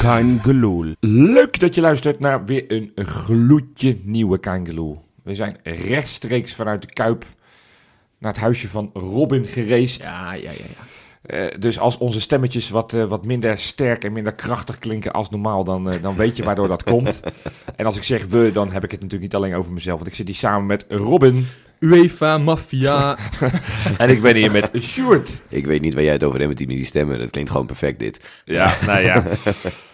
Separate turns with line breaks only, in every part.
Kein Geloel.
Leuk dat je luistert naar weer een gloedje nieuwe Kangeloel. We zijn rechtstreeks vanuit de Kuip naar het huisje van Robin gereisd.
Ja, ja, ja. ja.
Eh, dus als onze stemmetjes wat, eh, wat minder sterk en minder krachtig klinken als normaal, dan, eh, dan weet je waardoor dat komt. En als ik zeg we, dan heb ik het natuurlijk niet alleen over mezelf, want ik zit hier samen met Robin
UEFA, maffia.
en ik ben hier met Sjoerd.
Ik weet niet waar jij het over hebt met die, met die stemmen. Dat klinkt gewoon perfect dit.
Ja, nou ja.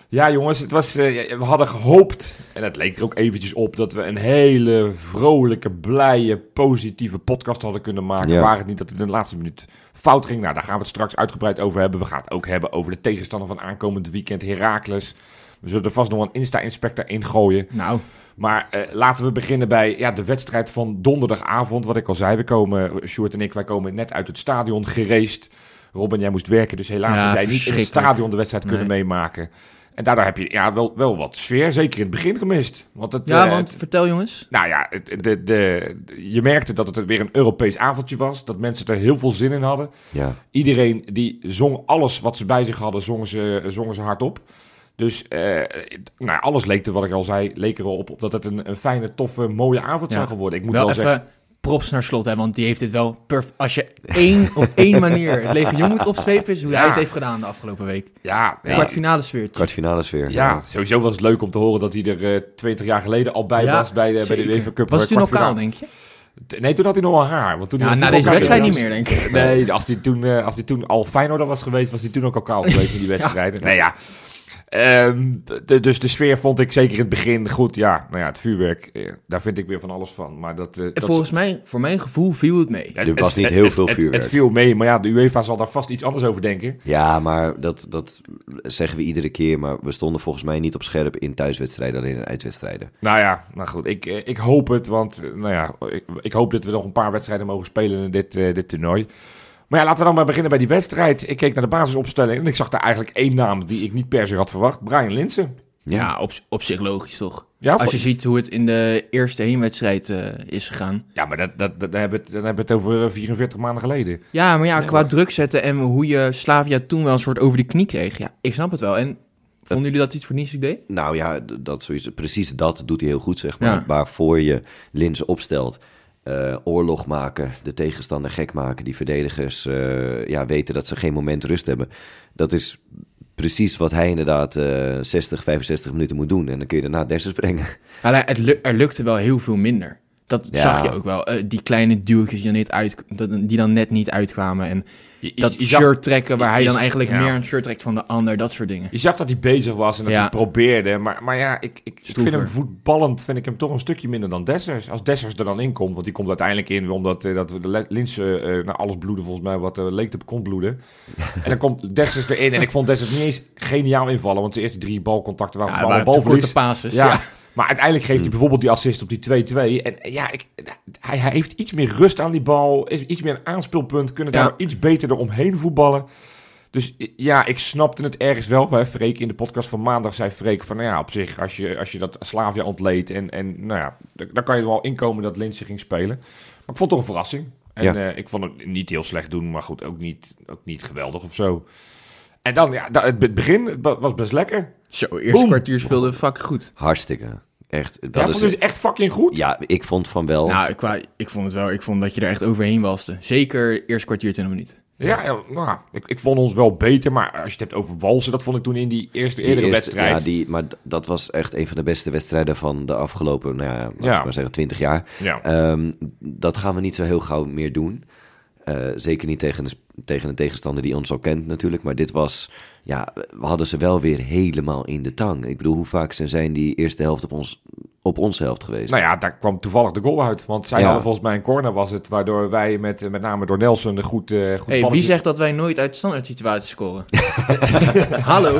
Ja, jongens, het was, eh, ja, we hadden gehoopt, en het leek er ook eventjes op, dat we een hele vrolijke, blije, positieve podcast hadden kunnen maken.
Ja.
Waar het niet dat het in de laatste minuut fout ging. Nou, daar gaan we het straks uitgebreid over hebben. We gaan het ook hebben over de tegenstander van aankomend weekend, Heracles. We zullen er vast nog een Insta-inspector in gooien.
nou,
Maar eh, laten we beginnen bij ja, de wedstrijd van donderdagavond. Wat ik al zei, we komen, Sjoerd en ik, wij komen net uit het stadion gereest. Robin, jij moest werken, dus helaas
Ja,
heb jij niet in het
verschrikkelijk.
stadion de wedstrijd kunnen meemaken. En daardoor heb je ja, wel, wel wat sfeer, zeker in het begin gemist. Want het,
ja,
eh,
want
het-
vertel jongens.
nou ja, het- de, de, je merkte dat het weer een Europees avondje was. Dat mensen er heel veel zin in hadden.
Ja.
Iedereen die zong alles wat ze bij zich hadden, zongen ze, zongen ze hardop. Dus eh, het- nou, ja, alles leek er, wat ik al zei, leek erop op dat het een, een fijne, toffe, mooie avond
Ja.
zou gaan worden. Ik moet wel,
wel even
zeggen,
props naar slot, hè, want die heeft dit wel perf. Als je één op één manier het legioen moet opslepen, is hoe
Ja.
hij het heeft gedaan de afgelopen week.
ja, ja, ja,
Kwartfinale sfeer.
Kwartfinale sfeer.
sowieso was het leuk om te horen dat hij er eh, 20 jaar geleden al bij
Ja,
was bij de, bij de
zeker.
UEFA Cup.
Was het toen nog
kwartfinale.
kaal, denk je?
Nee, toen had hij nog wel haar. Want toen
Ja,
hij
na
voetbal
deze wedstrijd
kampioen
niet
was-
meer, denk ik.
Nee, als hij toen, eh, als hij toen al Feyenoorder was geweest, was hij toen ook al kaal geweest in die wedstrijden. Nee, ja. Ehm, de- dus de sfeer vond ik zeker in het begin goed. Ja, nou ja, het vuurwerk, eh, daar vind ik weer van alles van. Maar dat, eh,
En
dat
volgens mij, voor mijn gevoel, viel het mee.
het-
Er was
het-
niet
het-
heel
het-
veel
het-
vuurwerk.
Het viel mee, maar ja, de UEFA zal daar vast iets anders over denken.
Ja, maar dat, dat zeggen we iedere keer. Maar we stonden volgens mij niet op scherp in thuiswedstrijden, alleen in uitwedstrijden.
Nou ja, nou goed, ik, eh, ik hoop het, want eh, nou ja, ik, ik hoop dat we nog een paar wedstrijden mogen spelen in dit, eh, dit toernooi. Maar ja, laten we dan maar beginnen bij die wedstrijd. Ik keek naar de basisopstelling en ik zag daar eigenlijk één naam die ik niet per se had verwacht. Brian Linsen.
Ja, op, op zich logisch toch?
Ja,
Als je
voor-
ziet hoe het in de eerste heenwedstrijd eh, is gegaan.
Ja, maar dat, dat, dat, dan, hebben we het, dan hebben we het over eh, 44 maanden geleden.
Ja, maar ja, qua druk zetten en hoe je Slavia toen wel een soort over de knie kreeg. Ja, ik snap het wel. En vonden jullie dat iets voor niets deed?
Nou ja, d- dat sowieso, precies dat doet hij heel goed, zeg maar.
Ja.
Waarvoor je linzen opstelt. eh, oorlog maken, de tegenstander gek maken. Die verdedigers eh, ja, weten dat ze geen moment rust hebben. Dat is precies wat hij inderdaad eh 60, 65 minuten moet doen. En dan kun je daarna Dessers brengen.
Ja, maar Nou, het lu- er lukte wel heel veel minder. Dat
Ja.
zag je ook wel. Eh, die kleine duwtjes die dan, niet uit, dat- die dan net niet uitkwamen. En
Je, je-
dat
je zag,
shirt trekken waar hij
je-
dan eigenlijk
ja.
meer een shirt trekt van de ander. Dat soort dingen.
je zag dat hij bezig was en dat
Ja.
hij probeerde. Maar, maar ja, ik, ik, ik vind
Stroever.
hem voetballend vind ik hem toch een stukje minder dan Dessers. Als Dessers er dan in komt, want die komt uiteindelijk in omdat eh, dat we de Le- Linse eh nou, alles bloeden volgens mij wat eh, leek te kon bloeden. en dan komt Dessers erin en ik vond Dessers niet eens geniaal invallen, want de eerste drie balcontacten waren
Ja,
vooral
waren
een
te korte
balverlies.
passes.
Dus Ja.
Ja.
Maar uiteindelijk
Hmm.
geeft hij bijvoorbeeld die assist op die 2-2. En eh, ja, ik, hij, hij heeft iets meer rust aan die bal. Is iets meer een aanspeelpunt. Kunnen
Ja.
daar iets beter eromheen voetballen. Dus eh, ja, ik snapte het ergens wel. Hè, Freek, in de podcast van maandag zei Freek van... Nou ja, op zich, als je, als je dat Slavia ontleed... En, en nou ja, d- dan kan je er wel inkomen dat Linse ging spelen. Maar ik vond het toch een verrassing. En
Ja.
eh, ik vond het niet heel slecht doen. Maar goed, ook niet, ook niet geweldig of zo. En dan, ja, da- het begin het was best lekker.
Zo, eerste
Boom.
kwartier speelde we fucking goed.
Hartstikke. Echt. Dat
Ja,
is,
vond ik dus echt fucking goed.
ja, ik vond van wel.
Nou, ik, qua- ik vond het wel. Ik vond dat je er echt overheen walste. Zeker eerste kwartier, 20 minuten.
Ja, ja, nou, ik, ik vond ons wel beter, maar als je het hebt over walsen, dat vond ik toen in die eerste
die
eerdere
eerste-
wedstrijd.
Ja, die, maar d- dat was echt een van de beste wedstrijden van de afgelopen, nou ja, laten we
Ja.
maar zeggen, 20 jaar.
Ja.
Ehm, dat gaan we niet zo heel gauw meer doen. Eh, zeker niet tegen, een sp- tegen een tegenstander die ons al kent natuurlijk. Maar dit was, ja, we hadden ze wel weer helemaal in de tang. Ik bedoel, hoe vaak zijn- zijn die eerste helft op ons, op ons helft geweest?
Nou ja, daar kwam toevallig de goal uit, want zij
Ja.
hadden volgens mij een corner was het, waardoor wij met, eh, met name door Nelson een goed, eh goed
Hey, wie
balletje-
zegt dat wij nooit uit standaard situaties scoren? Hallo.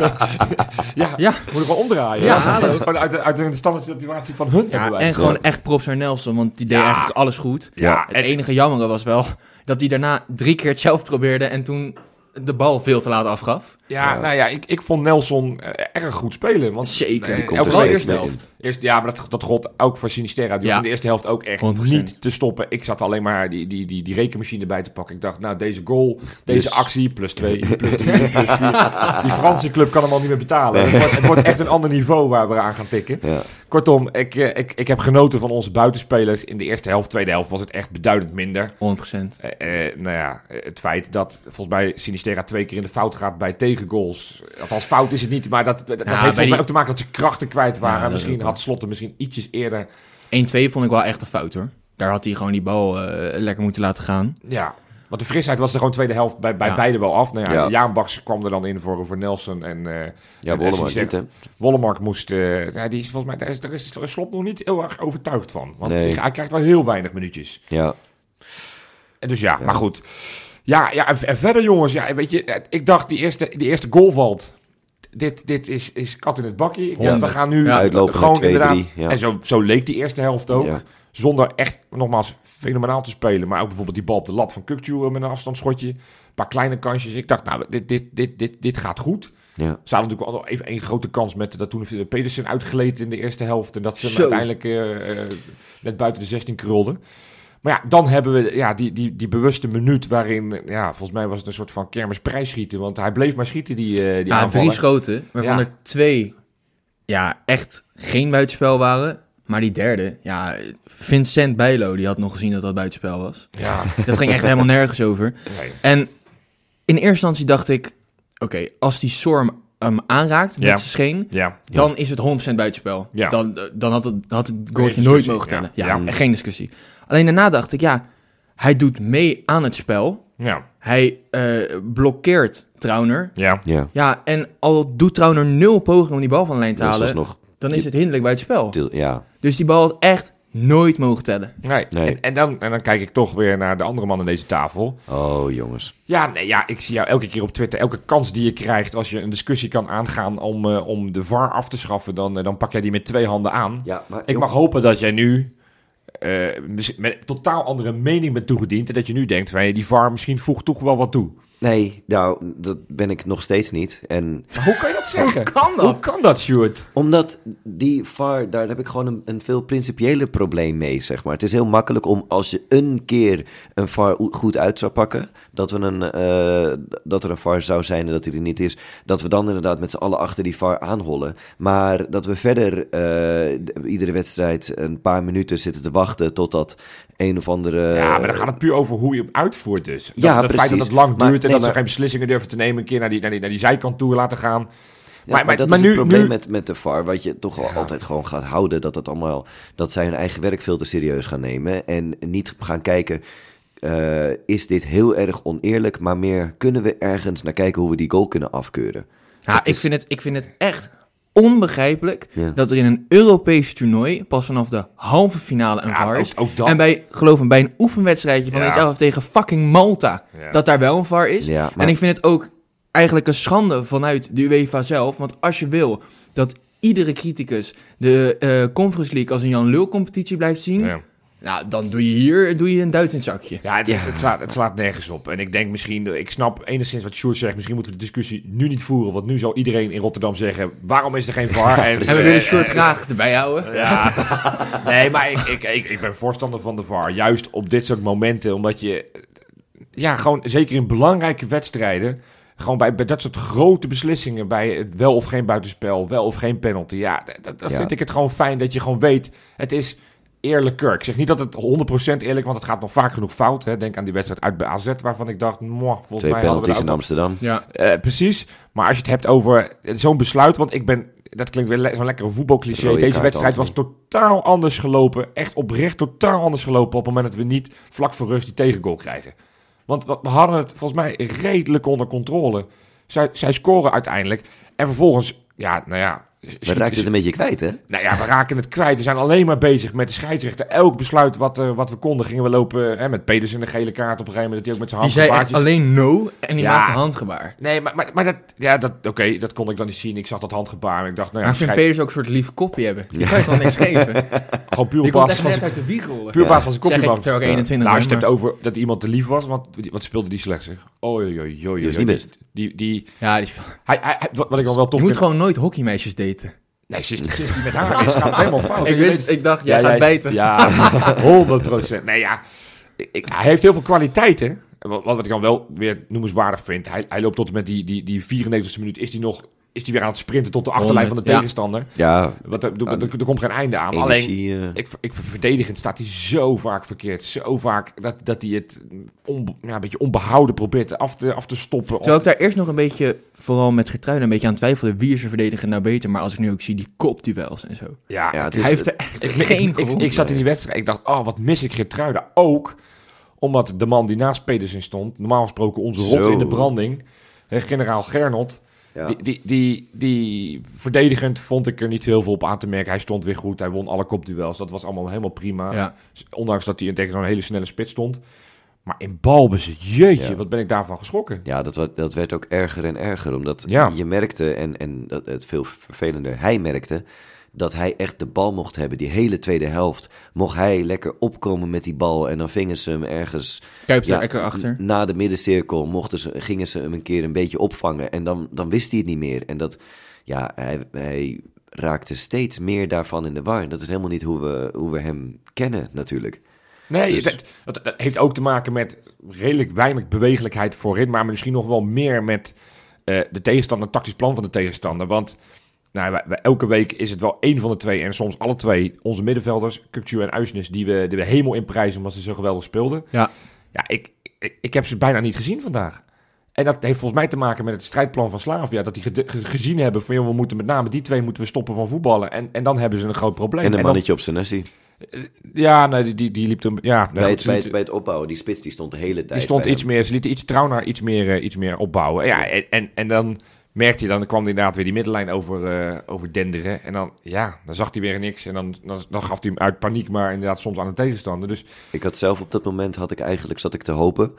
Ja,
Ah, Ja.
moet ik wel omdraaien.
Ja,
hè?
hallo.
Dat is gewoon uit, de- uit de standaard situatie van hun hebben
Ja,
wij
en
het.
gewoon echt props naar Nelson, want die deed
Ja.
eigenlijk alles goed.
Ja,
Het
en-
enige jammere was wel dat hij daarna drie keer het zelf probeerde en toen de bal veel te laat afgaf.
Ja,
Ja.
nou ja, ik, ik vond Nelson eh, erg goed spelen. Want,
Zeker.
eh,
Die
elke keer-
komt er
Vooral
steeds
eerste
meer
helft.
Eerst, ja, maar dat, dat rot ook voor Sinistera. Die
Ja.
was in de eerste helft ook echt
100%.
niet te stoppen. Ik zat alleen maar die, die, die, die rekenmachine erbij te pakken. Ik dacht, nou, deze goal, deze
Plus.
actie, plus twee, plus drie, plus vier. Die Franse club kan hem al niet meer betalen. Het, wordt, het wordt echt een ander niveau waar we aan gaan tikken.
Ja.
Kortom, ik, eh, ik, ik heb genoten van onze buitenspelers. In de eerste helft, tweede helft was het echt beduidend minder.
100%.
Eh, eh, nou ja, eh, het feit dat volgens mij Sinistera twee keer in de fout gaat bij tegengoals. Althans, fout is het niet, maar dat, dat, dat heeft
bij
volgens mij
die-
ook te maken dat ze krachten kwijt waren.
Ja, dat
misschien
ook wel.
had Slotten misschien ietsjes eerder...
1-2 vond ik wel echt een fout hoor. Daar had hij gewoon die bal eh, lekker moeten laten gaan.
Ja, want de frisheid was er gewoon tweede helft bij, bij
Ja.
beide wel af. Nou ja,
Ja.
Jaan Baks kwam er dan in voor, voor Nelson en eh
Ja,
En
Bollemark
Essien
niet, hè?
Wollemark moest... eh, ja, die is volgens mij, daar is, daar is Slot nog niet heel erg overtuigd van. Want
Nee.
hij- hij krijgt wel heel weinig minuutjes.
Ja,
En dus ja, maar goed. Ja, ja en, en verder jongens, ja, weet je, eh, ik dacht die eerste, die eerste goal valt. Dit, dit is, is kat in het bakje. Ik dacht, we
Honderd.
gaan nu
Ja.
Uitlopen
gewoon
naar 2-3,
inderdaad.
ja.
En zo, zo leek die eerste helft ook.
Ja.
Zonder echt, nogmaals, fenomenaal te spelen. Maar ook bijvoorbeeld die bal op de lat van Kukju eh, met een afstandsschotje. Een paar kleine kansjes. Ik dacht, nou, dit, dit, dit, dit, dit gaat goed.
ja.
Ze hadden natuurlijk wel nog even één grote kans met dat toen heeft de Pedersen uitgeleed in de eerste helft. En dat ze hem
Zo.
uiteindelijk eh, eh, net buiten de 16 krulden. Maar ja, dan hebben we ja, die, die, die bewuste minuut waarin, eh, ja, volgens mij was het een soort van kermisprijs schieten. Want hij bleef maar schieten, die, eh die
Ja,
aanvaller.
drie schoten, waarvan
Ja.
er twee ja, echt geen buitenspel waren. Maar die derde, ja, Vincent Bijlo, die had nog gezien dat dat buitenspel was.
Ja,
Dat ging echt helemaal nergens over.
nee.
En in eerste instantie dacht ik, oké, als die Sorm hem aanraakt met
Ja.
zijn scheen,
ja.
dan is het 100% buitenspel.
Ja.
Dan, eh, dan had het, had het goaltje
discussie,
nooit mogen tellen.
ja.
Ja,
Ja.
geen discussie. Alleen daarna dacht ik, ja, hij doet mee aan het spel.
ja,
Hij eh, blokkeert Trauner.
ja.
ja.
Ja, en al doet Trauner nul poging om die bal van de lijn te
Dat is
halen,
alsnog...
dan is het hinderlijk bij het spel.
til- Ja,
Dus die bal had echt nooit mogen tellen.
Nee.
Nee.
En, en, dan, en dan kijk ik toch weer naar de andere man aan deze tafel.
oh jongens.
Ja, nee, ja, ik zie jou elke keer op Twitter. Elke kans die je krijgt als je een discussie kan aangaan om, eh, om de VAR af te schaffen, dan, eh, dan pak jij die met twee handen aan.
Ja, maar...
Ik mag hopen dat jij nu eh, mis- met een totaal andere mening bent toegediend. En dat je nu denkt, van, hey, die VAR misschien voegt toch wel wat toe.
Nee, nou, dat ben ik nog steeds niet. En
Maar hoe kan je dat zeggen?
kan dat?
Hoe kan dat, Stuart?
Omdat die VAR, daar heb ik gewoon een, een veel principiële probleem mee, zeg maar. Het is heel makkelijk om als je een keer een VAR o- goed uit zou pakken, dat, we een, eh, dat er een VAR zou zijn en dat hij er niet is, dat we dan inderdaad met z'n allen achter die VAR aanhollen. Maar dat we verder eh, d- iedere wedstrijd een paar minuten zitten te wachten totdat een of andere...
ja, maar dan gaat het puur over hoe je hem uitvoert dus. Dat,
Ja,
dat feit dat
precies.
het lang duurt
Maar-
en dat
nee,
ze
maar-
geen beslissingen durven te nemen. Een keer naar die, naar die, naar die zijkant toe laten gaan.
Ja, maar, dat is het probleem met, met de VAR, wat je toch wel altijd gewoon gaat houden, dat, het allemaal, dat zij hun eigen werk veel te serieus gaan nemen en niet gaan kijken, eh, is dit heel erg oneerlijk, maar meer kunnen we ergens naar kijken hoe we die goal kunnen afkeuren.
Ja, ik, vind het, ik vind het echt onbegrijpelijk
Ja.
dat er in een Europees toernooi pas vanaf de halve finale een
Ja,
VAR is.
ook- ook dat.
En bij, geloof me, bij een oefenwedstrijdje van
Ja.
ja. tegen fucking Malta,
Ja.
dat daar wel een VAR is.
Ja, maar-
En ik vind het ook eigenlijk een schande vanuit de UEFA zelf. Want als je wil dat iedere criticus de eh, Conference League als een Jan Lul competitie blijft zien...
Ja.
Nou, dan doe je hier doe je een duit in het zakje.
Ja, het,
Ja.
het- het slaat, het slaat nergens op. En ik denk misschien, ik snap enigszins wat Sjoerd zegt. Misschien moeten we de discussie nu niet voeren. Want nu zal iedereen in Rotterdam zeggen: waarom is er geen VAR? en,
En we
eh,
willen Sjoerd
eh,
graag erbij houden.
Ja, nee, maar ik, ik, ik, ik ben voorstander van de VAR. Juist op dit soort momenten, omdat je... Ja, gewoon zeker in belangrijke wedstrijden... Gewoon bij, bij dat soort grote beslissingen, bij het wel of geen buitenspel, wel of geen penalty. Ja, d- d- dan
Ja.
vind ik het gewoon fijn dat je gewoon weet, het is eerlijker. Ik zeg niet dat het 100% eerlijk, want het gaat nog vaak genoeg fout. Hè. Denk aan die wedstrijd uit bij AZ, waarvan ik dacht, moh, volgens
Twee
mij hadden we
penalties
daar ook
in Amsterdam.
Ja.
eh, precies. Maar als je het hebt over eh, zo'n besluit, want ik ben, dat klinkt weer le- zo'n lekkere voetbalcliché.
Rode
Deze
kaart
wedstrijd was totaal anders gelopen. Echt oprecht totaal anders gelopen op het moment dat we niet vlak voor rust die tegengoal krijgen. Want we we hadden het volgens mij redelijk onder controle. Zij, zij scoren uiteindelijk. En vervolgens, ja, nou ja,
We raakten het een beetje kwijt, hè?
Nou ja, we raken het kwijt. We zijn alleen maar bezig met de scheidsrechter. Elk besluit wat, eh, wat we konden, gingen we lopen hè, met Pedersen de gele kaart op een gegeven moment. Dat hij ook met
Die
zijn hand
zei echt
gebaartjes-
alleen no en die
Ja.
maakte handgebaar.
Nee, maar, maar, maar dat, ja, dat, oké, dat kon ik dan niet zien. Ik zag dat handgebaar en ik dacht, nou ja,
maar ik vind
scheids-
Peters ook een soort lief kopje hebben. Die kan je toch niks geven?
gewoon puur op
Die komt
basis
echt
van
net
zijn-
uit de wieg rollen.
puur op
Ja.
basis van zijn
Zeg ik, eh,
kopje. was.
terwijl ik
Ja.
21
Nou, als je
ben,
het
maar-
hebt over dat iemand te lief was, want wat speelde die slecht zeg? Oei, oei, oei,
Die was niet
oei.
best.
Die, die,
Ja, die speelt-
hij, hij, hij- wat wat ik dan wel
je
tof
moet
vind...
gewoon nooit hockeymeisjes daten.
Nee, sinds sinds die met haar is, gaat het helemaal fout.
ik,
Je
wist,
weet-
ik dacht, jij
Ja,
gaat bijten.
Ja, 100 Nee, ja. Ik- ik- hij heeft heel veel kwaliteiten. Wat, wat ik dan wel weer noemenswaardig vind. Hij, hij loopt tot en met die, die, die 94e minuut. Is hij nog... Is hij weer aan het sprinten tot de achterlijn van de
100, ja.
tegenstander?
Ja,
Want er, er, er- er komt geen einde aan. Alleen,
energie... eh,
ik, ik, verdedigend staat hij zo vaak verkeerd. Zo vaak dat, dat hij het on, ja, een beetje onbehouden probeert af te, af te stoppen.
Terwijl ik daar eerst nog een beetje, vooral met Gertruiden, een beetje aan twijfelde wie is er verdediger nou beter. Maar als ik nu ook zie die kopduels en zo.
ja,
ja, het is,
Hij heeft er echt geen
ik,
gewonnen.
ik zat in die wedstrijd. Ik dacht, oh, wat mis ik Gertruida ook. Omdat de man die naast Pedersen stond, normaal gesproken onze rot
Zo.
in de branding, hè, generaal Gernot.
ja.
Die, die, die, die verdedigend vond ik er niet heel veel op aan te merken. Hij stond weer goed, hij won alle kopduels. Dat was allemaal helemaal prima.
Ja.
Dus Ondanks dat hij tegen zo'n hele snelle spits stond. Maar in balbezit, jeetje,
Ja.
wat ben ik daarvan geschrokken.
Ja, dat, wa- dat werd ook erger en erger. Omdat
Ja.
je merkte, en, en dat, het veel vervelender, hij merkte dat hij echt de bal mocht hebben. Die hele tweede helft mocht hij lekker opkomen met die bal. En dan vingen ze hem ergens
Kuip
ja,
daar lekker achter.
n- na de middencirkel. Mochten ze, gingen ze hem een keer een beetje opvangen. En dan, dan wist hij het niet meer. En dat, ja, hij, hij raakte steeds meer daarvan in de war. Dat is helemaal niet hoe we, hoe we hem kennen, natuurlijk.
Nee,
Dus-
dat, dat, dat heeft ook te maken met redelijk weinig bewegelijkheid voorin, maar misschien nog wel meer met eh, de tegenstander, het tactisch plan van de tegenstander. Want nou, wij- wij- elke week is het wel één van de twee en soms alle twee onze middenvelders, Kukcu en Uisnes, die we, die we hemel in prijzen omdat ze zo geweldig speelden.
Ja.
Ja, ik, ik, ik heb ze bijna niet gezien vandaag. En dat heeft volgens mij te maken met het strijdplan van Slavia. Dat die gede- ge- gezien hebben van, joh, we moeten met name die twee moeten we stoppen van voetballen. En, en dan hebben ze een groot probleem.
En een
dan-
mannetje op zijn nessie.
ja, nee, die, die, die liep er... Ja, nee,
Bij
goed,
het,
ze
bij,
liet-
het, bij het opbouwen, die spits die stond de hele tijd
Die stond
bij
iets
hem.
meer, ze lieten iets trouw naar iets meer, eh, iets meer opbouwen. Ja, en, en, en dan merkte hij dan, kwam hij inderdaad weer die middenlijn over, eh over denderen. En dan, ja, dan zag hij weer niks. En dan, dan, dan gaf hij hem uit paniek, maar inderdaad soms aan de tegenstander. Dus
Ik had zelf op dat moment, had ik eigenlijk, zat ik te hopen.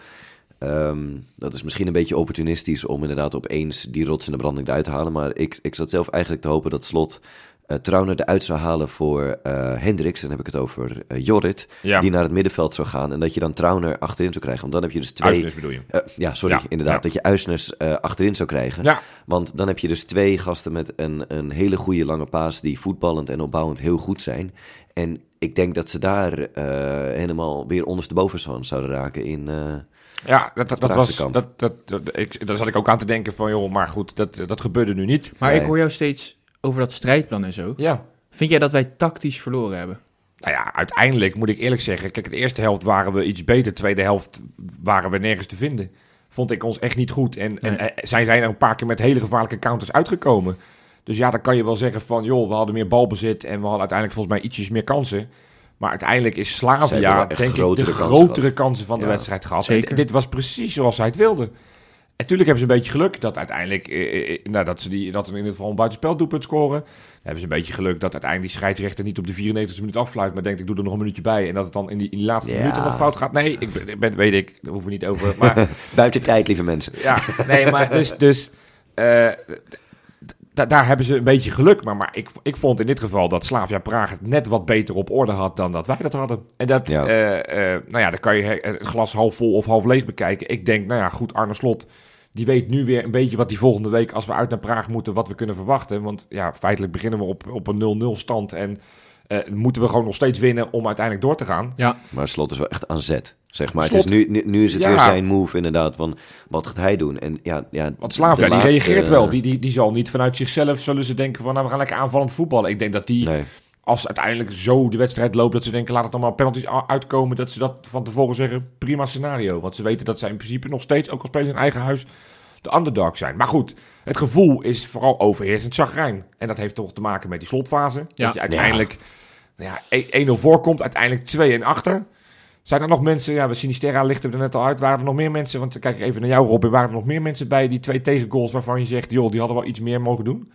Ehm, dat is misschien een beetje opportunistisch om inderdaad opeens die rots in de branding eruit te halen. Maar ik, ik zat zelf eigenlijk te hopen dat Slot eh Trauner eruit zou halen voor eh, Hendricks. Dan heb ik het over eh, Jorrit,
ja,
die naar het middenveld zou gaan. En dat je dan Trauner achterin zou krijgen. Want dan heb je dus twee...
Uisnes bedoel je.
Eh, ja, sorry,
Ja,
inderdaad.
ja.
Dat je Uisnes eh, achterin zou krijgen.
Ja,
Want dan heb je dus twee gasten met een, een hele goede lange paas die voetballend en opbouwend heel goed zijn. En ik denk dat ze daar eh, helemaal weer ondersteboven van zouden raken in... eh,
ja dat, dat, dat
Praagse
was...
kant.
Dat, dat, dat, ik, daar zat ik ook aan te denken van, joh, maar goed, dat, dat gebeurde nu niet.
Maar
Nee.
ik hoor jou steeds over dat strijdplan en zo.
Ja.
Vind jij dat wij tactisch verloren hebben?
Nou ja, uiteindelijk moet ik eerlijk zeggen. Kijk, de eerste helft waren we iets beter. De tweede helft waren we nergens te vinden. Vond ik ons echt niet goed. En, en
Nee.
eh, zij zijn er een paar keer met hele gevaarlijke counters uitgekomen. Dus ja, dan kan je wel zeggen van... joh, we hadden meer balbezit en we hadden uiteindelijk volgens mij ietsjes meer kansen. Maar uiteindelijk is
Zij hebben
Slavia,
wel echt
denk ik, de
grotere kansen
grotere
gehad.
kansen van de
Ja,
wedstrijd gehad. En
zeker.
d- dit was precies zoals zij het wilden. En tuurlijk hebben ze een beetje geluk dat uiteindelijk... eh, eh, nou, dat ze die, dat er in ieder geval een buitenspeldoelpunt scoren. Dan hebben ze een beetje geluk dat uiteindelijk die scheidsrechter niet op de 94e minuut affluit. Maar denkt, ik doe er nog een minuutje bij. En dat het dan in die, in die laatste
Ja.
minuut nog fout gaat. Nee, ik ben, ik ben- weet ik, daar hoeven we niet over. Maar
buiten tijd, lieve mensen.
ja, nee, maar dus... dus eh, d- d- daar hebben ze een beetje geluk. Maar, maar ik, ik vond in dit geval dat Slavia Praag het net wat beter op orde had dan dat wij dat hadden. En dat,
Ja.
eh, eh, nou ja, dan kan je he- het glas half vol of half leeg bekijken. Ik denk, nou ja, goed, Arne Slot, die weet nu weer een beetje wat die volgende week, als we uit naar Praag moeten, wat we kunnen verwachten. Want ja, feitelijk beginnen we op, op een 0-0 stand en eh, moeten we gewoon nog steeds winnen om uiteindelijk door te gaan.
Maar Slot is wel echt aan zet, zeg maar.
Slot-
Het is nu, nu, nu is het
Ja.
weer zijn move inderdaad, van wat gaat hij doen? En ja, ja,
Want Slavia,
de
die
laatste- eh,
reageert wel. Die, die, die zal niet vanuit zichzelf, zullen ze denken van, nou, we gaan lekker aanvallend voetballen. Ik denk dat die...
Nee.
als uiteindelijk zo de wedstrijd loopt dat ze denken, laat het allemaal penalties a- uitkomen, dat ze dat van tevoren zeggen, prima scenario. Want ze weten dat zij in principe nog steeds, ook al spelen ze in eigen huis, de underdog zijn. Maar goed, het gevoel is vooral overheersend chagrijn. En dat heeft toch te maken met die slotfase.
Ja.
Dat je uiteindelijk nou ja, 1-0 voorkomt, uiteindelijk 2 en achter. Zijn er nog mensen, ja, we Sinisterra licht er net al uit, waren er nog meer mensen, want dan kijk ik even naar jou Robin, waren er nog meer mensen bij die twee tegengoals waarvan je zegt, joh, die hadden wel iets meer mogen doen?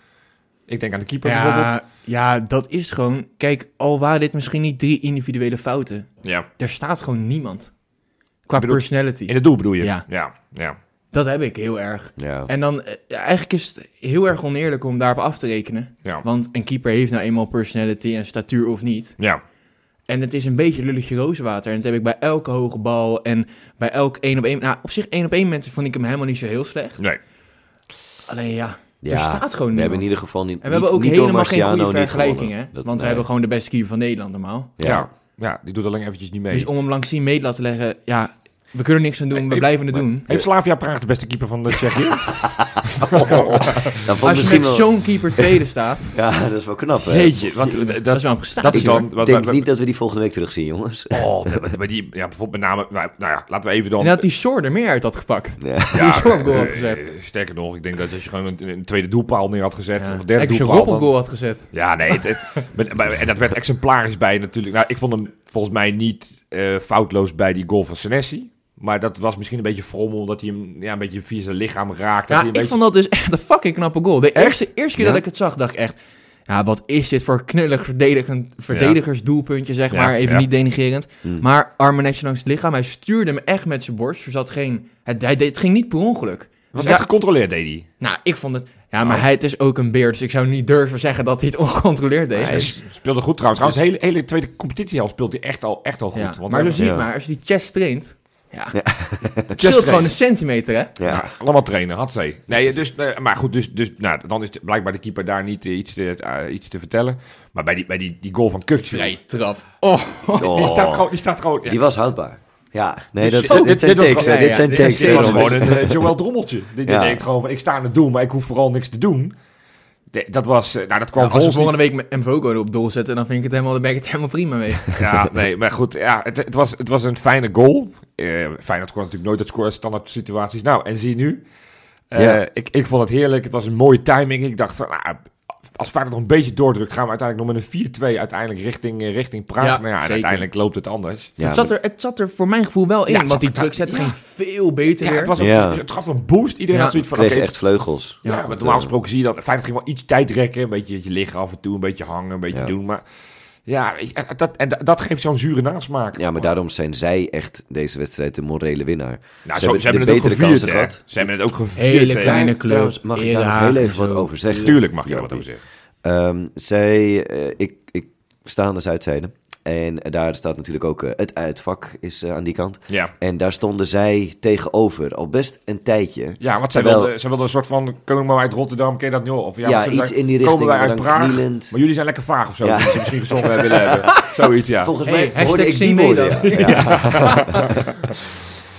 Ik denk aan de keeper bijvoorbeeld.
Ja, ja, dat is gewoon... Kijk, al waren dit misschien niet drie individuele fouten...
Ja.
Er staat gewoon niemand. Qua
bedoel-
personality.
In het doel bedoel je?
Ja.
Ja. ja.
Dat heb ik heel erg.
Ja.
En dan, eh, eigenlijk is het heel erg oneerlijk om daarop af te rekenen.
Ja.
Want een keeper heeft nou eenmaal personality en statuur of niet.
Ja.
En het is een beetje lulletje rozenwater. En dat heb ik bij elke hoge bal en bij elk één op één. Nou, op zich één op één mensen vond ik hem helemaal niet zo heel slecht.
Nee.
Alleen ja,
Ja,
er staat gewoon
We
niemand.
hebben in ieder geval niet.
en we hebben ook
niet, niet door
helemaal geen
Marciano
goede
niet
vergelijking, hè?
gewonnen.
Want
Dat-
we
nee.
hebben gewoon de beste keeper van Nederland normaal.
Ja.
Ja.
ja. die doet alleen eventjes niet mee.
Dus om hem langs die meet laten leggen, ja, we kunnen er niks aan doen, we
Even-
blijven het doen.
Heeft Slavia Praag de beste keeper van de Tsjechië?
Dan valt
Als je
misschien
met
wel.
zo'n keeper tweede staat,
Ja, dat is wel knap, hè?
Jeetje, want eh,
dat
dat,
is wel een
dat
prestatie.
is dan...
Ik
Wat,
denk
wat-
niet dat we die volgende week terugzien, jongens.
Oh, maar- maar die, ja, bijvoorbeeld met name... Nou, nou ja, laten we even dan...
En dat die Soor er meer uit had gepakt.
Ja.
die Zorpgoal had
eh,
gezet.
eh, Sterker nog, ik denk dat als je gewoon een, een tweede doelpaal neer had gezet...
Ja.
Of een derde
Als je
doelpaal...
Rob
dan-
op goal had gezet.
Ja, nee. Het, het- met- bij- en dat werd exemplarisch bij natuurlijk. Nou, ik vond hem volgens mij niet eh, foutloos bij die goal van Senesi. Maar dat was misschien een beetje frommel, omdat hij hem ja, een beetje via zijn lichaam raakte.
Ja,
dat hij
ik
een beetje...
vond dat dus echt een fucking knappe goal. De
Echt?
eerste, eerste keer
Ja.
dat ik het zag, dacht ik echt... Ja, wat is dit voor knullig verdedigend, verdedigersdoelpuntje, zeg
Ja,
maar. Even
ja. Hmm.
niet denigerend.
Mm.
Maar armen netje langs het lichaam. Hij stuurde hem echt met zijn borst. Er zat geen... Het, hij deed, het ging niet per ongeluk. Dus
Het was
Ja.
echt gecontroleerd, deed hij.
Nou, ik vond het... Ja, maar
Oh.
hij, het is ook een beer, dus ik zou niet durven zeggen dat hij het ongecontroleerd deed.
Hij
Dus-
s- speelde goed trouwens. Trouwens, de hele, hele tweede competitie al speelt hij echt al, echt al goed.
ja.
Want
maar dus-
hij-
zo zie je
Ja.
maar, als je die chest traint... Ja, het
Ja.
Chest
scheelt gewoon
trainen.
een centimeter, hè?
Ja.
Allemaal trainen, had zij. Nee, dus, eh, maar goed, dus, dus nou, dan is het blijkbaar de keeper daar niet eh, iets, te, eh, iets te vertellen. Maar bij die, bij die, die goal van Kukje.
Vrije trap.
Die staat
Oh,
gewoon... Die staat gewoon ja.
Die was houdbaar. Ja, nee,
Dus
dat,
dit-
dit
dit
zijn
was
takes.
gewoon-
hè,
nee,
Dit zijn
ja, dit-
takes.
dit
Dit was
hè,
gewoon
jongens.
een eh, Joël Drommeltje. Die, die
Ja.
denkt gewoon van, ik sta aan het doel, maar ik hoef vooral niks te doen. De- dat was, eh, nou dat kwam
Ja, als we
volgens
volgende week met Mvogo erop doel zetten, dan vind ik het helemaal, dan ben ik het helemaal prima mee.
Ja, nee, maar goed, ja, het, het, was, het was een fijne goal. Eh Feyenoord kon natuurlijk nooit dat scoren, standaard situaties. Nou, en zie je nu. Eh,
Ja.
ik, ik vond het heerlijk, het was een mooie timing. Ik dacht van, nou, als Feyenoord nog een beetje doordrukt, gaan we uiteindelijk nog met een 4-2 uiteindelijk richting, eh, richting Praag.
Ja,
nou ja, en
zeker.
uiteindelijk loopt het anders.
Ja,
het, zat er, het zat er voor mijn gevoel wel in,
Ja, het
want die
zat er-
drukzet
ja.
ging veel beter
Ja,
weer.
het, was een,
Ja.
het gaf een boost. Iedereen
Ja.
had zoiets van,
kreeg
oké,
echt vleugels.
Ja,
Ja,
want
dat,
normaal
eh,
gesproken zie je dat. Feyenoord ging wel iets tijd rekken. Een beetje dat je liggen af en toe, een beetje hangen, een beetje
Ja.
doen. Maar ja, weet je, en dat, en dat- dat geeft zo'n zure nasmaak.
Ja, maar daarom zijn zij echt deze wedstrijd de morele winnaar.
nou,
ze
zo,
hebben
ze hebben
de
het ook
betere
gevierd,
kansen
hè.
gehad.
Ze hebben het ook gevierd.
Hele
hè.
kleine club.
Trouwens, mag ik daar nog
Erehaag
heel
en
even wat
zo.
over zeggen?
Tuurlijk mag je daar wat
Jopie.
over zeggen.
Ehm, zij, eh, ik, ik sta aan de Zuidzijde. En daar staat natuurlijk ook eh, het uitvak is eh, aan die kant.
Ja.
En daar stonden zij tegenover al best een tijdje.
Ja, want zij
Terwijl-
wilden, zij wilden een soort van komen maar uit Rotterdam, ken je dat niet? Of ja,
Ja,
want ze
iets
zeiden,
in die richting,
Komen wij
maar
uit
dan
Praag,
knielend.
maar jullie zijn lekker vaag of zo.
Ja.
Dat ze misschien gezond hebben willen hebben. Zoiets, ja.
Volgens
Hey,
mij hoorde
hashtag
ik
zie
die
mee
woorden.
dan.
ja. Ja.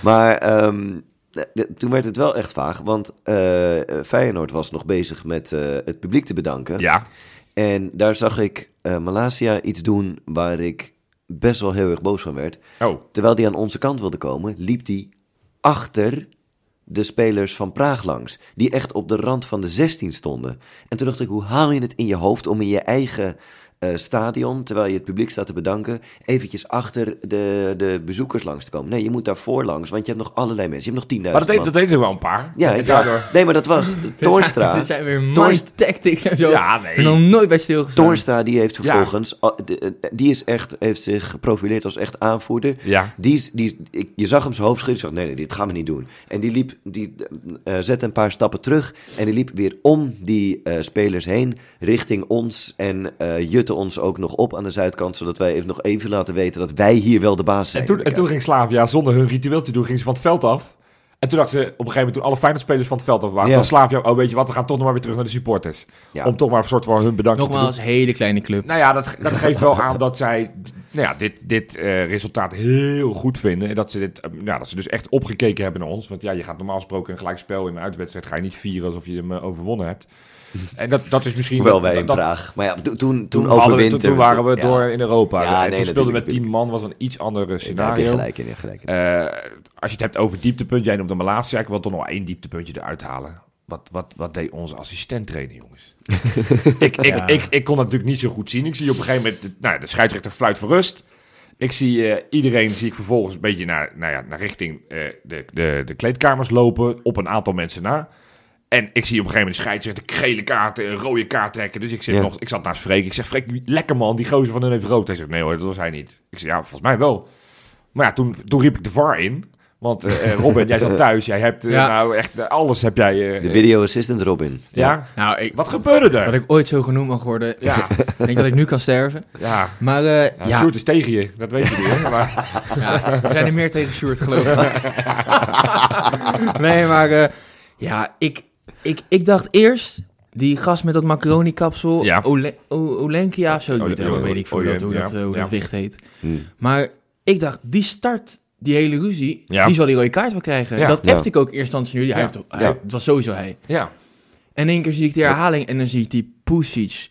maar ehm, d- toen werd het wel echt vaag, want eh, Feyenoord was nog bezig met eh, het publiek te bedanken.
Ja,
En daar zag ik eh Malasia iets doen waar ik best wel heel erg boos van werd.
oh.
Terwijl die aan onze kant wilde komen, liep die achter de spelers van Praag langs. Die echt op de rand van de 16 stonden. En toen dacht ik, hoe haal je het in je hoofd om in je eigen eh, stadion, terwijl je het publiek staat te bedanken, eventjes achter de, de bezoekers langs te komen? Nee, je moet daarvoor langs, want je hebt nog allerlei mensen. Je hebt nog 10.000
Maar dat deden
man.
dat deden er wel een paar.
Ja,
En
ja.
daardoor...
nee, maar dat was Toornstra.
Dit zijn weer
Toornstra-
mind tactics en zo.
Ja,
Ik ben
nee.
nog nooit bij stilgestaan.
Toornstra die heeft vervolgens, al- de- eh, die is echt, heeft zich geprofileerd als echt aanvoerder.
Ja.
Die, is- die, is- ik, je zag hem zijn hoofd schudden. Ik zag, nee, nee, dit gaan we niet doen. En die liep, die eh, zette een paar stappen terug. En die liep weer om die eh, spelers heen, richting ons. En eh, jutte ons ook nog op aan de zuidkant, zodat wij even nog even laten weten dat wij hier wel de baas zijn.
En toen, en toen ging Slavia zonder hun ritueel te doen, ging ze van het veld af. En toen dachten ze op een gegeven moment, toen alle Feyenoord-spelers van het veld af waren,
Ja.
dan Slavia, oh weet je wat, we gaan toch nog maar weer terug naar de supporters.
Ja.
Om toch maar een soort van hun bedanken te doen.
Nogmaals, hele kleine club.
Nou ja, dat, dat geeft wel aan dat zij nou ja, dit, dit eh, resultaat heel goed vinden. En dat ze, dit, eh, nou, dat ze dus echt opgekeken hebben naar ons. Want ja, je gaat normaal gesproken een gelijkspel in een uitwedstrijd, ga je niet vieren alsof je hem eh, overwonnen hebt. En dat, dat is misschien...
Hoewel wij in
dat- dat-
Praag. Maar ja, toen, toen,
Toen,
toen
hadden we-
overwinter.
toen, toen waren we
Ja.
door in Europa.
Ja,
en
nee,
toen speelden we met
natuurlijk,
10 man, was een iets ander
Daar heb je
scenario.
gelijk in, daar heb je gelijk in.
Eh, als je het hebt over dieptepunt, jij noemt hem maar laatste. Ik wil toch nog wel één dieptepuntje eruit halen. Wat, wat, wat deed onze assistent trainen, jongens? ik, ik,
Ja.
ik, ik kon dat natuurlijk niet zo goed zien. Ik zie op een gegeven moment de, nou, ja, de scheidsrechter fluit voor rust. Ik zie eh, iedereen, zie ik vervolgens een beetje naar, nou ja, naar richting eh, de, de, de kleedkamers lopen. Op een aantal mensen na. En ik zie op een gegeven moment scheidsrechter gele kaarten, een rode kaart trekken. Dus ik, zit
Ja.
nog, ik zat naast Freek. Ik zeg, Freek, lekker man, die gozer van hun heeft rood. Hij zegt, nee hoor, dat was hij niet. Ik zeg, ja, volgens mij wel. Maar ja, toen, toen riep ik de VAR in. Want eh, eh, Robin, jij zat thuis. Jij hebt eh,
Ja.
nou echt eh, alles heb jij... eh,
De video assistant Robin.
ja.
Nou, ik,
wat gebeurde
dat
er?
ik ooit zo genoemd mag worden.
Ja,
Ik denk dat ik nu kan sterven.
ja.
Maar eh,
Ja,
ja,
Sjoerd is tegen je, dat weet je niet. Hè? Maar,
Ja, we zijn er meer tegen Sjoerd, geloof ik. nee, maar eh, ja, ik, ik, ik dacht eerst die gast met dat macaroni-kapsel,
Ja.
Ole- O- Olenkia of zo,
Ole-
die-
Ole-
weet ik veel
Ole-
dat, hoe,
ja,
dat, eh, hoe
ja.
dat wicht heet.
Hm.
Maar ik dacht, die start, die hele ruzie,
Ja.
die zal die rode kaart wel krijgen.
Ja.
Dat
Ja.
appte ik ook eerst instantie nu. Ja, hij
Ja.
heeft toch- hij-
Ja.
Het was sowieso hij.
ja,
En in één keer zie ik de herhaling en dan zie ik die Pusic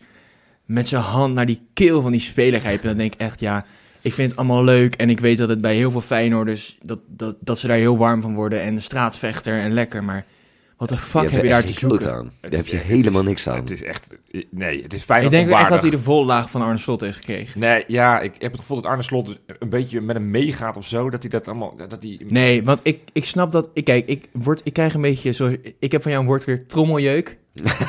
met zijn hand naar die keel van die speler grijpen. En dan denk ik echt, ja, ik vind het allemaal leuk. En ik weet dat het bij heel veel Feyenoorders, dat, dat, dat ze daar heel warm van worden. En de straatvechter en lekker, maar wat de fuck
hebt
heb
er
je daar
echt
te
geen kloot
zoeken?
aan.
Het
Daar heb
is-
je
het
helemaal
is-
niks aan.
het is echt... eh, Nee, het is fijn
Ik denk echt dat hij de vollaag van Arne Slot heeft gekregen.
Nee, ja, ik heb het gevoel dat Arne Slot een beetje met hem meegaat of zo. Dat hij dat allemaal... Dat hij...
Nee, want ik, ik snap dat... Ik, kijk, ik, word, ik krijg een beetje... Zoals, ik heb van jou een woord weer trommeljeuk.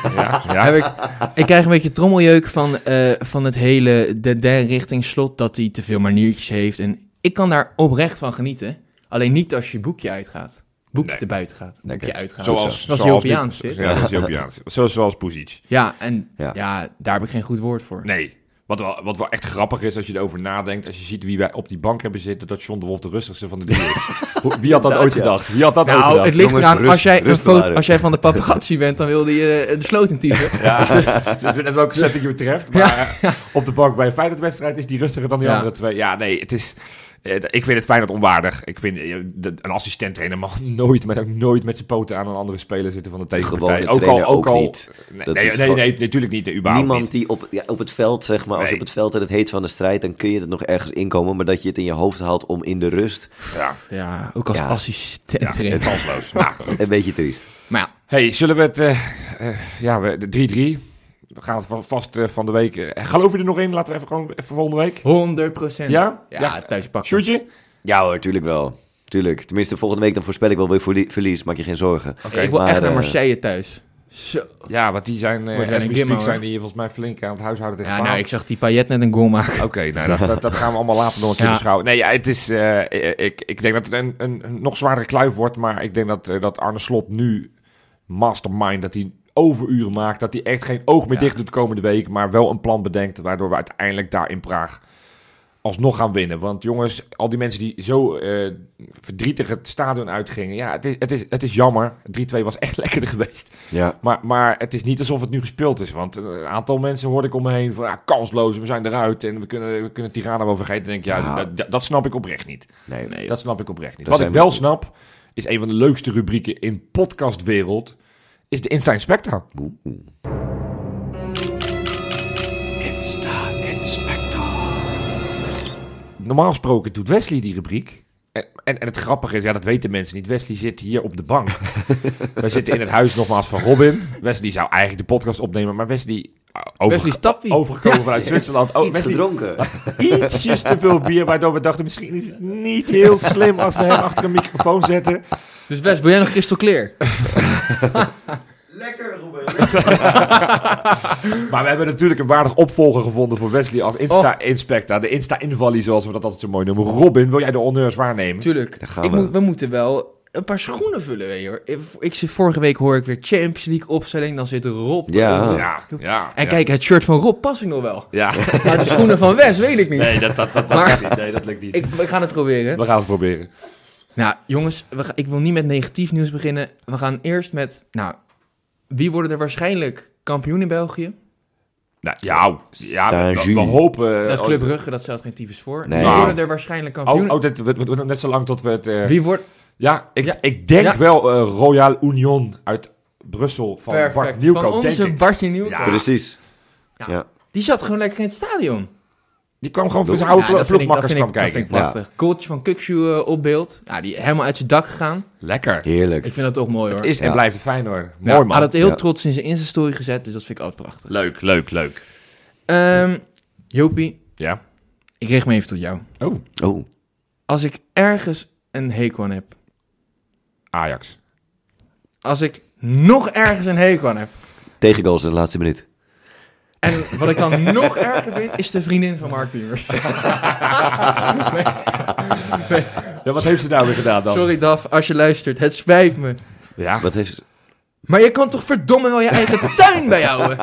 Ja, ja.
Heb ik, ik krijg een beetje trommeljeuk van, eh, van het hele de, de richting slot dat hij te veel maniertjes heeft. En ik kan daar oprecht van genieten. Alleen niet als je boekje uitgaat. Boekje
Nee.
te buiten gaat. Boekje
Lekker.
uitgaat.
Zoals,
Dat is
zoals
Europeaans,
nu-
dit.
Ja, dat is Europeaans. Zoals, zoals Pusic.
Ja, en ja.
Ja.
daar heb ik geen goed woord voor.
Nee. Wat wel, wat wel echt grappig is als je erover nadenkt. Als je ziet wie wij op die bank hebben zitten. Dat John de Wolf de rustigste van de drie is. Hoe- Wie had dat
Inderdaad,
ooit
ja.
gedacht? Wie had dat ooit
Nou,
gedacht?
het ligt
Jongens,
eraan, als
rust-
jij, een
rust
foto,
bewaren.
als jij van de paparazzi bent, dan wilde je eh, de sloot in typen.
Het weet net welke setting je betreft. Maar eh, op de bank bij een Feyenoord-wedstrijd is die rustiger dan die
Ja.
andere twee. Ja, nee, het is... eh, d- Ik vind het Feyenoord onwaardig. Ik vind, eh, de- een assistent-trainer mag nooit, maar ook nooit met zijn poten aan een andere speler zitten van de tegenpartij.
gewone trainer ook niet.
Nee,
Dat
nee,
is
nee,
gewoon-
nee, natuurlijk niet. nee, überhaupt
Niemand
niet.
die op, ja, op het veld, zeg maar, als je
Nee.
op het veld en het heet van de strijd, dan kun je er nog ergens inkomen. Maar dat je het in je hoofd haalt om in de rust,
Ja,
Ja, ook als
Ja.
ja,
assistent. erin.
kansloos. Nou, goed.
een beetje triest.
Maar ja,
Hey, zullen we het... eh, eh, ja, we- de 3-3. We gaan het va- vast eh, van de week... eh, geloof je er nog in? Laten we even gewoon even volgende week.
100%.
Ja?
Ja,
Ja.
thuis pakken.
Sjoerdje?
Ja hoor, tuurlijk wel. Tuurlijk. Tenminste, volgende week dan voorspel ik wel weer verlie- verlies. Maak je geen zorgen.
Oké.
ik wil
maar,
echt naar
eh,
Marseille thuis. Zo.
Ja, want die zijn...
Wordt
eh
wel
as
een
we
gimmo,
speak
hoor.
zijn die hier volgens mij flink aan het huishouden tegen
Ja, nou,
Paal.
ik zag die Payet net een goal maken.
Oké, nou, dat, dat, dat gaan we allemaal later nog een keer
Ja.
beschouwen. Nee, ja, het is, eh, ik, ik denk dat het een, een, een nog zwaardere kluif wordt. Maar ik denk dat, eh, dat Arne Slot nu mastermind, dat hij overuren maakt. Dat hij echt geen oog meer
Ja.
dicht doet de komende week. Maar wel een plan bedenkt waardoor we uiteindelijk daar in Praag alsnog gaan winnen. Want jongens, al die mensen die zo eh, verdrietig het stadion uitgingen. Ja, het is, het is, het is jammer. 3-2 was echt lekkerder geweest.
Ja.
Maar, maar het is niet alsof het nu gespeeld is. Want eh, een aantal mensen hoorde ik om me heen van ja, kansloos, we zijn eruit en we kunnen, we kunnen Tirana wel vergeten. Dan denk ik, ja,
Ja.
Dat, dat- dat snap ik oprecht niet.
Nou. Nee.
Nee,
Dat snap ik oprecht niet.
Daar
Wat ik
zijn we
wel
niet.
snap, is een van de leukste rubrieken in podcastwereld, is de Insta Inspector. Normaal gesproken doet Wesley die rubriek. En, en, en het grappige is, ja, dat weten mensen niet. Wesley zit hier op de bank. Wij zitten in het huis nogmaals van Robin. Wesley zou eigenlijk de podcast opnemen, maar Wesley... uh, Over,
Wesley Stappie.
Overgekomen vanuit Zwitserland. Oh,
Iets
Wesley-
gedronken.
ietsjes te veel bier, waardoor we dachten, misschien is het niet heel slim als we hem achter een microfoon zetten.
Dus Wes, wil jij nog crystal clear?
Lekker, Robin.
Maar we hebben natuurlijk een waardig opvolger gevonden voor Wesley als Insta-inspector. De Insta-invalie, zoals we dat altijd zo mooi noemen. Robin, wil jij de honneurs waarnemen?
Tuurlijk.
Daar gaan
Ik
we.
moet, we moeten wel een paar schoenen vullen, weet je hoor. Ik, ik zit, vorige week hoor ik weer Champions League opstelling, dan zit Rob.
Ja.
Oh, Ja, ja.
En
ja.
kijk, het shirt van Rob past ik nog wel.
Ja,
Maar de schoenen van Wes weet ik niet.
nee, dat, dat, dat, dat
Maar-
lukt niet. Nee, dat lukt niet.
Ik, we gaan het proberen.
We gaan het proberen.
Nou, jongens, we ga- ik wil niet met negatief nieuws beginnen. We gaan eerst met, nou, wie worden er waarschijnlijk kampioen in België?
Nou, ja, ja we,
Saint-Gilles.
we hopen...
dat is Club Brugge, dat stelt geen tyfus voor.
Nee.
Wie
Nou.
worden er waarschijnlijk
Oh,
kampioen?
oh dit- we, we doen net zo lang tot we het... eh,
Wie wordt...
ja, ik,
Ja.
ik denk
Ja.
wel eh, Royal Union uit Brussel van Bart
Perfect.
Nieuwkoop,
van onze
denk ik.
Bartje Nieuwkoop.
Ja.
Precies.
Ja.
Ja.
Die zat gewoon lekker in het stadion.
Die kwam gewoon voor
Ja,
zijn oude
dat
plo-
vind ik- dat
ploegmakkers
vind ik-
kwam
dat
kijken.
vind ik prachtig. Kooltje van Kukshu eh, op beeld. Ja, die helemaal uit zijn dak gegaan.
Lekker.
Heerlijk.
Ik vind dat toch mooi hoor.
Is en
Ja.
blijft een Feyenoord.
Ja,
Mooi man.
Had het heel
Ja.
trots in zijn Insta-story gezet, dus dat vind ik altijd prachtig.
Leuk, leuk, leuk.
Ehm, Jopie,
Ja.
ik richt me even tot jou.
Oh,
Oh,
Als ik ergens een hekel aan heb,
Ajax.
als ik nog ergens een hekel aan heb.
Tegengoals in de laatste minuut.
En wat ik dan nog erger vind, is de vriendin van Mark Piemers. Nee,
Ja, wat heeft ze nou weer gedaan dan?
sorry Daf, als je luistert, het spijt me.
Ja,
Wat heeft...
Maar je kan toch verdomme wel je eigen tuin bijhouden?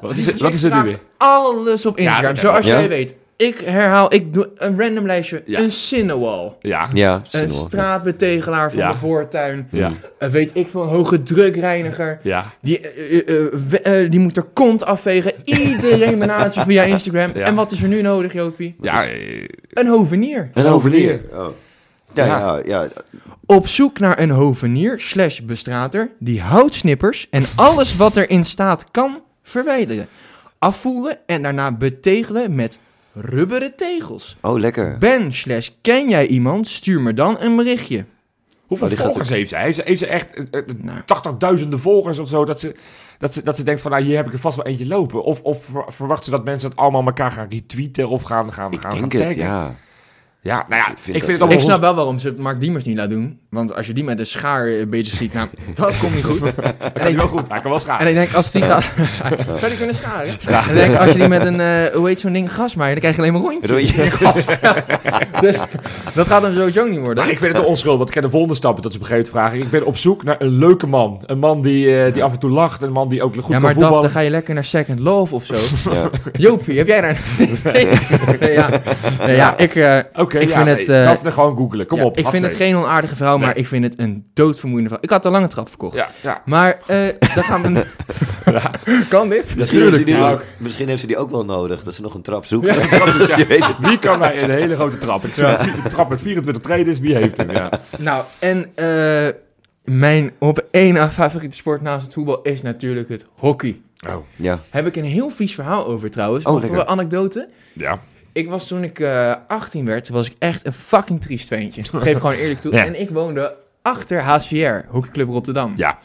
wat is, het- wat is er nu
Vraagt
weer?
Alles op Instagram,
Ja,
zoals
ja.
jij weet. Ik herhaal, ik doe een random lijstje.
Ja.
Een cinnewall.
Ja,
Ja,
Een
Sinewald.
straatbetegelaar van
Ja.
de voortuin.
ja,
Een weet ik veel, een hoge drukreiniger.
ja.
Die, eh, eh, eh, we- eh, die moet er kont afvegen. Iedereen benadert je via Instagram.
Ja.
En wat is er nu nodig, Jopie?
Ja, eh,
Oh,
Een hovenier.
Een hovenier. Oh. Ja,
Ja.
ja, ja.
Op zoek naar een hovenier slash bestrater die houtsnippers en alles wat erin staat kan verwijderen. Afvoeren en daarna betegelen met rubberen tegels.
Oh, lekker.
Ben slash ken jij iemand? Stuur me dan een berichtje.
hoeveel
Oh, die gaat
volgers heeft ze? Heeft ze, heeft ze echt eh, eh,
Nou.
80.000 volgers of zo? Dat ze, dat, ze, dat ze denkt van, nou, hier heb ik er vast wel eentje lopen. Of, of ver- verwacht ze dat mensen het allemaal elkaar gaan retweeten of gaan, gaan,
Ik
gaan, gaan
denk het,
taggen?
ja.
Ja, nou ja, ik
Ik
vind,
vind
het
dat-
allemaal...
Ik snap wel waarom ze het Mark Diemers niet laat doen. Want als je die met een schaar eh, bezig ziet, nou, dat komt niet goed.
Hij kan wel goed, hij kan wel schaam.
En ik denk, als die gaat... Zou die kunnen scharen? En ik denk, als je die met een, eh, hoe heet zo'n ding, gasmaaier, dan krijg je alleen maar rondjes.
Rondjes.
in gas. dus dat gaat hem sowieso niet worden.
Maar ik vind het een onschuld, want ik ken de volgende stap dat ze begrepen vragen. Ik ben op zoek naar een leuke man. Een man die, eh, die af en toe lacht, een man die ook goed
ja,
kan
maar Daf,
voetballen.
dan ga je lekker naar Second Love of zo.
ja.
Jopie, heb jij daar... nee, nee, ja. Nee, ja, ik, eh,
Oké,
ik
ja,
vind
nee,
het, eh,
Daphne gewoon googelen, kom
ja,
op.
ik vind het
Hatsé.
geen onaardige vrouw, maar
Nee.
ik vind het een doodvermoeiende vrouw. Ik had de lange trap verkocht.
Ja, ja.
Maar eh dan gaan we... Kan dit?
Misschien, heeft ze die
tuurlijk.
ook, misschien heeft ze die ook wel nodig, dat ze nog een trap zoeken.
Ja.
Je weet het.
Wie kan mij een hele grote trap? Ik zeg, een trap met 24 traders, wie heeft hem? Ja.
Nou, en eh, mijn op één na favoriete sport naast het voetbal is natuurlijk het hockey.
Oh,
Ja.
Heb ik een heel vies verhaal over trouwens.
Oh,
Nog een
lekker.
anekdote.
ja.
Ik was toen ik eh 18 werd, was ik echt een fucking triest ventje. Dat geef ik gewoon eerlijk toe.
Ja.
En ik woonde achter HCR, Hockeyclub Rotterdam.
Ja.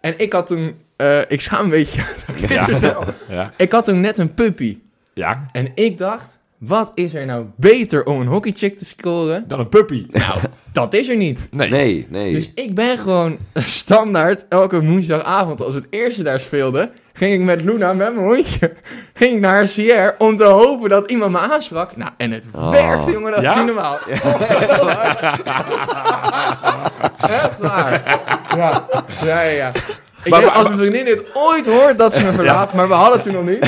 En ik had toen, eh, ik schaam een beetje, dat ik dit
Ja.
vertel.
Ja.
Ik had toen net een puppy.
ja,
En ik dacht, wat is er nou beter om een hockeychick te scoren?
dan een puppy.
Nou, dat is er niet.
Nee.
Nee, nee.
Dus ik ben gewoon standaard elke woensdagavond, als het eerste daar speelde, ging ik met Luna, met mijn hondje, ging ik naar CR om te hopen dat iemand me aansprak. Nou, en het
Oh.
werkte, jongen, dat
Ja?
is niet normaal. Echt waar. Ja, ja, ja. ja. Ik
Maar-
denk,
maar-
als mijn vriendin dit ooit hoort, dat ze me verlaat, maar we hadden toen nog niet.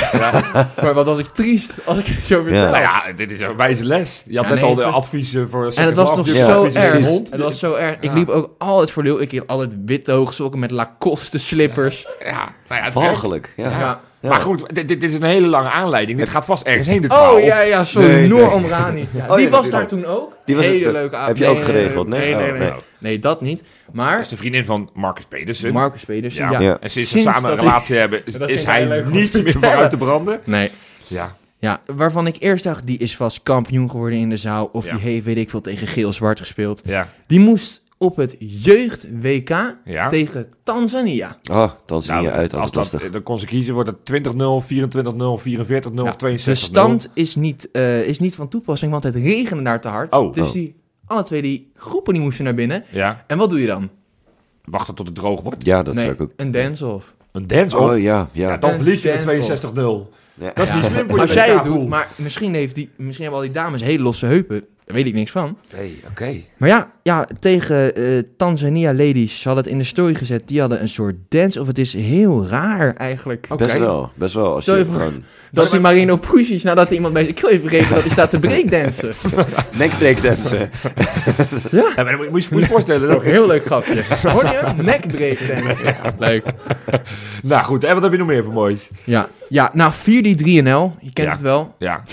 Maar wat was ik triest als ik het zo vertel.
Ja.
Nou ja, dit is een wijze les. Je had
Ja,
net
nee,
al de
het-
adviezen voor...
En het
second
was
half,
nog
dus
ja,
zo
adviezen voor
erg.
hond.
Het was zo erg. Ik
Ja.
liep ook altijd voor lul. Ik hield altijd witte hoogsokken met Lacoste slippers.
Ja, nou ja, het werkt.
Walgelijk. Ja.
Ja. Oh,
Ja.
Maar goed, dit, dit dit is een hele lange aanleiding. Dit gaat vast ergens heen, dit verhaal.
Oh
Of-
ja, ja, sorry.
Nee, Oh,
Noor Omrani. Ja,
ja,
die was
natuurlijk.
daar toen ook.
Die was
Hele
het-
leuke avond.
Heb je
Nee,
ook
nee, nee,
geregeld? Nee,
Nee, nee,
Oh,
nee.
nee.
Nee, dat niet.
Nou, Dat is
Maar
de vriendin van Marcus Pedersen.
Marcus Pedersen,
Ja.
ja.
Ja.
En sinds ze
Sinds
samen een
dat
relatie hebben, is,
Dat
is
vind ik heel
hij
leuk om
niet
te
meer
vertellen.
vooruit te branden.
Nee.
Ja,
Ja, waarvan ik eerst dacht, die is vast kampioen geworden in de zaal. Of
Ja.
die heeft, weet ik veel, tegen geel-zwart gespeeld.
ja,
Die moest op het jeugd-WK
ja. Nou,
tegen Tanzania.
Oh, dan zie je uit als
als
het lastig.
dat, dan kon ze kiezen, wordt het 20-0, 24-0, 44-0
Ja,
of 62-0.
de stand is niet, eh, is niet van toepassing, want het regende daar te hard.
Oh.
dus
Oh.
die, alle twee die groepen die moesten naar binnen.
Ja,
En wat doe je dan?
wachten tot het droog wordt.
Ja, dat
nee,
zou ik ook.
een dance-off.
Een dance-off.
Oh ja,
ja,
ja.
dan
Een
verlies je
dance-off.
met 62-0.
Ja.
Dat is niet slim voor je
Als jij het
WK
doet,
pool.
maar misschien, heeft die, misschien hebben al die dames hele losse heupen. Daar weet ik niks van.
Nee, oké.
Maar ja, ja tegen eh, Tanzania Ladies, ze hadden het in de story gezet. Die hadden een soort dance, of het is heel raar eigenlijk.
Oké.
Best wel, best wel. Als
Stel
je
je voor-
gewoon
Dat die Marino Pusic, nadat er iemand bij zijn keel heeft vergeten, dat hij staat te breakdansen.
nekbreakdansen.
Ja, maar dan moet je moet je moet je voorstellen.
Dat is ook
Dat,
een heel leuk grapje. Hoor je hem? Nekbreakdansen. Leuk.
nou goed, en wat heb je nog meer voor moois?
Ja, ja nou 4D3NL, je kent
Ja.
het wel.
Ja,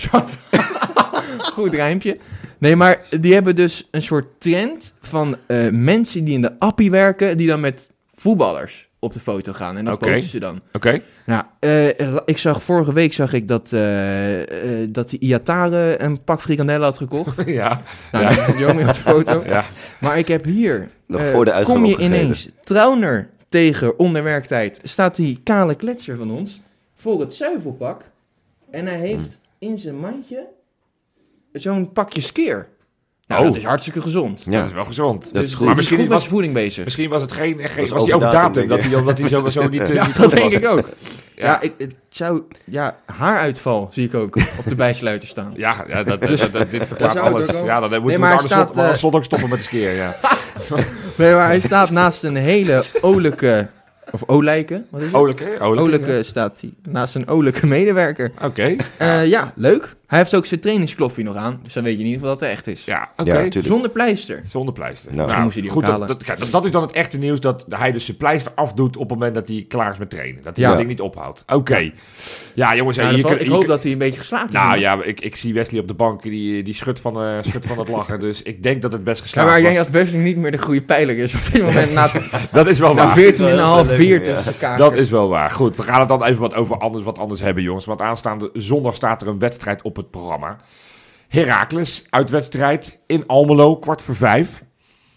Goed rijmpje. Nee, maar die hebben dus een soort trend van eh, mensen die in de appie werken, die dan met voetballers op de foto gaan. En dat
Oké.
posten ze dan.
oké.
Nou, eh, ik zag vorige week zag ik dat, eh, eh, dat die Iatare een pak frikandellen had gekocht.
Ja,
nou,
Ja.
die jongen op de foto.
ja.
Maar ik heb hier,
Nog
eh,
voor de uitgang
kom je
opgegeten.
ineens Trauner tegen onder werktijd, staat die kale kletser van ons voor het zuivelpak. En hij heeft in zijn mandje zo'n pakje skeer. Nou,
Oh.
dat is hartstikke gezond.
Ja,
Dat is wel gezond.
Dat
Dus
is
die
goed.
Maar
is
misschien
goed
is-
met
was,
zijn voeding bezig.
misschien was het geen... geen was,
Was
die overdatum?
overdatum,
Dat hij dat die zo, zo niet, eh,
Ja,
niet
dat
goed
denk
was.
ik ook.
Ja.
Ja, ik, het zou... Ja, haaruitval zie ik ook op de bijsluiter staan.
Ja, ja dat, dat, dat- dit verklaart
Daar zou het
alles.
ook wel-
Ja, dan moet
Nee,
je
maar
Arne
hij staat,
Slot- maar Arne
eh,
Slot ook stoppen met skiën, ja.
Nee, maar hij staat naast een hele olijke... Of olijke, wat is het?
Olijke, olijke.
Olijke staat hij. Naast een olijke medewerker.
Oké.
Eh, ja, leuk. Hij heeft ook zijn trainingskloffie nog aan. Dus dan weet je in ieder geval dat het echt is.
Ja, oké.
Ja, natuurlijk.
Zonder pleister.
Zonder pleister.
Nou,
misschien moest hij die
goed,
ook
dat,
halen.
dat, kijk, dat, dat is dan het echte nieuws, dat hij dus zijn pleister afdoet op het moment dat hij klaar is met trainen. Dat hij
Ja.
dat ding niet ophoudt. Oké. Ja, jongens.
Nou,
je,
dat wel-
kun-
ik
je
hoop
kun-
dat hij een beetje geslaagd is.
Nou ja, ik, ik zie Wesley op de bank, die, die schudt, van, eh schudt van het lachen. Dus ik denk dat het best
Ja,
geslaagd
maar ik
was.
denk dat Wesley niet meer de goede pijler is op dit moment. Na,
Dat is wel
na
waar.
14,5
leuk,
bier
ja.
tegen elkaar.
Dat is wel waar. Goed, we gaan het dan even wat over anders, wat anders hebben, jongens. Want aanstaande zondag staat er een wedstrijd op het programma. Heracles, uitwedstrijd in Almelo, kwart voor vijf.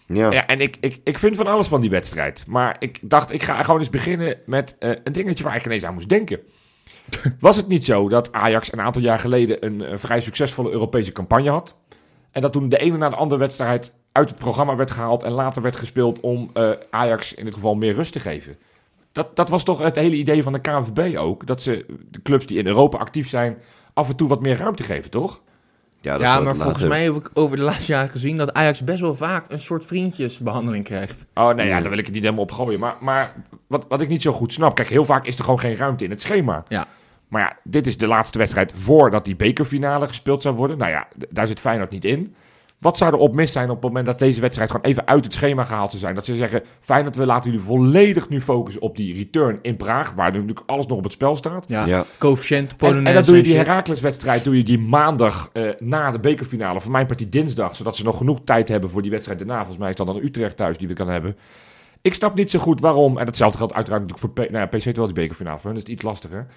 Ja.
Ja, en ik, ik, ik vind van alles van die wedstrijd. Maar ik dacht, ik ga gewoon eens beginnen met eh, een dingetje waar ik ineens aan moest denken. Was het niet zo dat Ajax een aantal jaar geleden een, eh, vrij succesvolle Europese campagne had? En dat toen de ene na de andere wedstrijd uit het programma werd gehaald en later werd gespeeld om eh, Ajax in dit geval meer rust te geven? Dat, dat was toch het hele idee van de KNVB ook? Dat ze de clubs die in Europa actief zijn af en toe wat meer ruimte geven, toch?
Ja, dat
Ja,
zal
maar
het
volgens
later-
mij heb ik over de laatste jaren gezien dat Ajax best wel vaak een soort vriendjesbehandeling krijgt.
Oh nee, ja,
Ja.
daar wil ik het niet helemaal op gooien. Maar, maar wat, wat ik niet zo goed snap. Kijk, heel vaak is er gewoon geen ruimte in het schema.
Ja.
Maar ja, dit is de laatste wedstrijd voordat die bekerfinale gespeeld zou worden. Nou ja, d- daar zit Feyenoord niet in. Wat zou er op mis zijn op het moment dat deze wedstrijd gewoon even uit het schema gehaald zou zijn? Dat ze zeggen, Feyenoord, we laten jullie volledig nu focussen op die return in Praag. Waar nu natuurlijk alles nog op het spel staat.
Ja.
Ja.
Coëfficiënt,
En,
Polonaise.
en dat doe je die
shit.
Heracles-wedstrijd doe je die maandag eh, na de bekerfinale. Voor mijn partij dinsdag. Zodat ze nog genoeg tijd hebben voor die wedstrijd daarna. Volgens mij is dat dan Utrecht thuis die we kan hebben. Ik snap niet zo goed waarom. En datzelfde geldt uiteraard natuurlijk voor P nou ja, PSV. Terwijl die bekerfinale voor hen is het iets lastiger.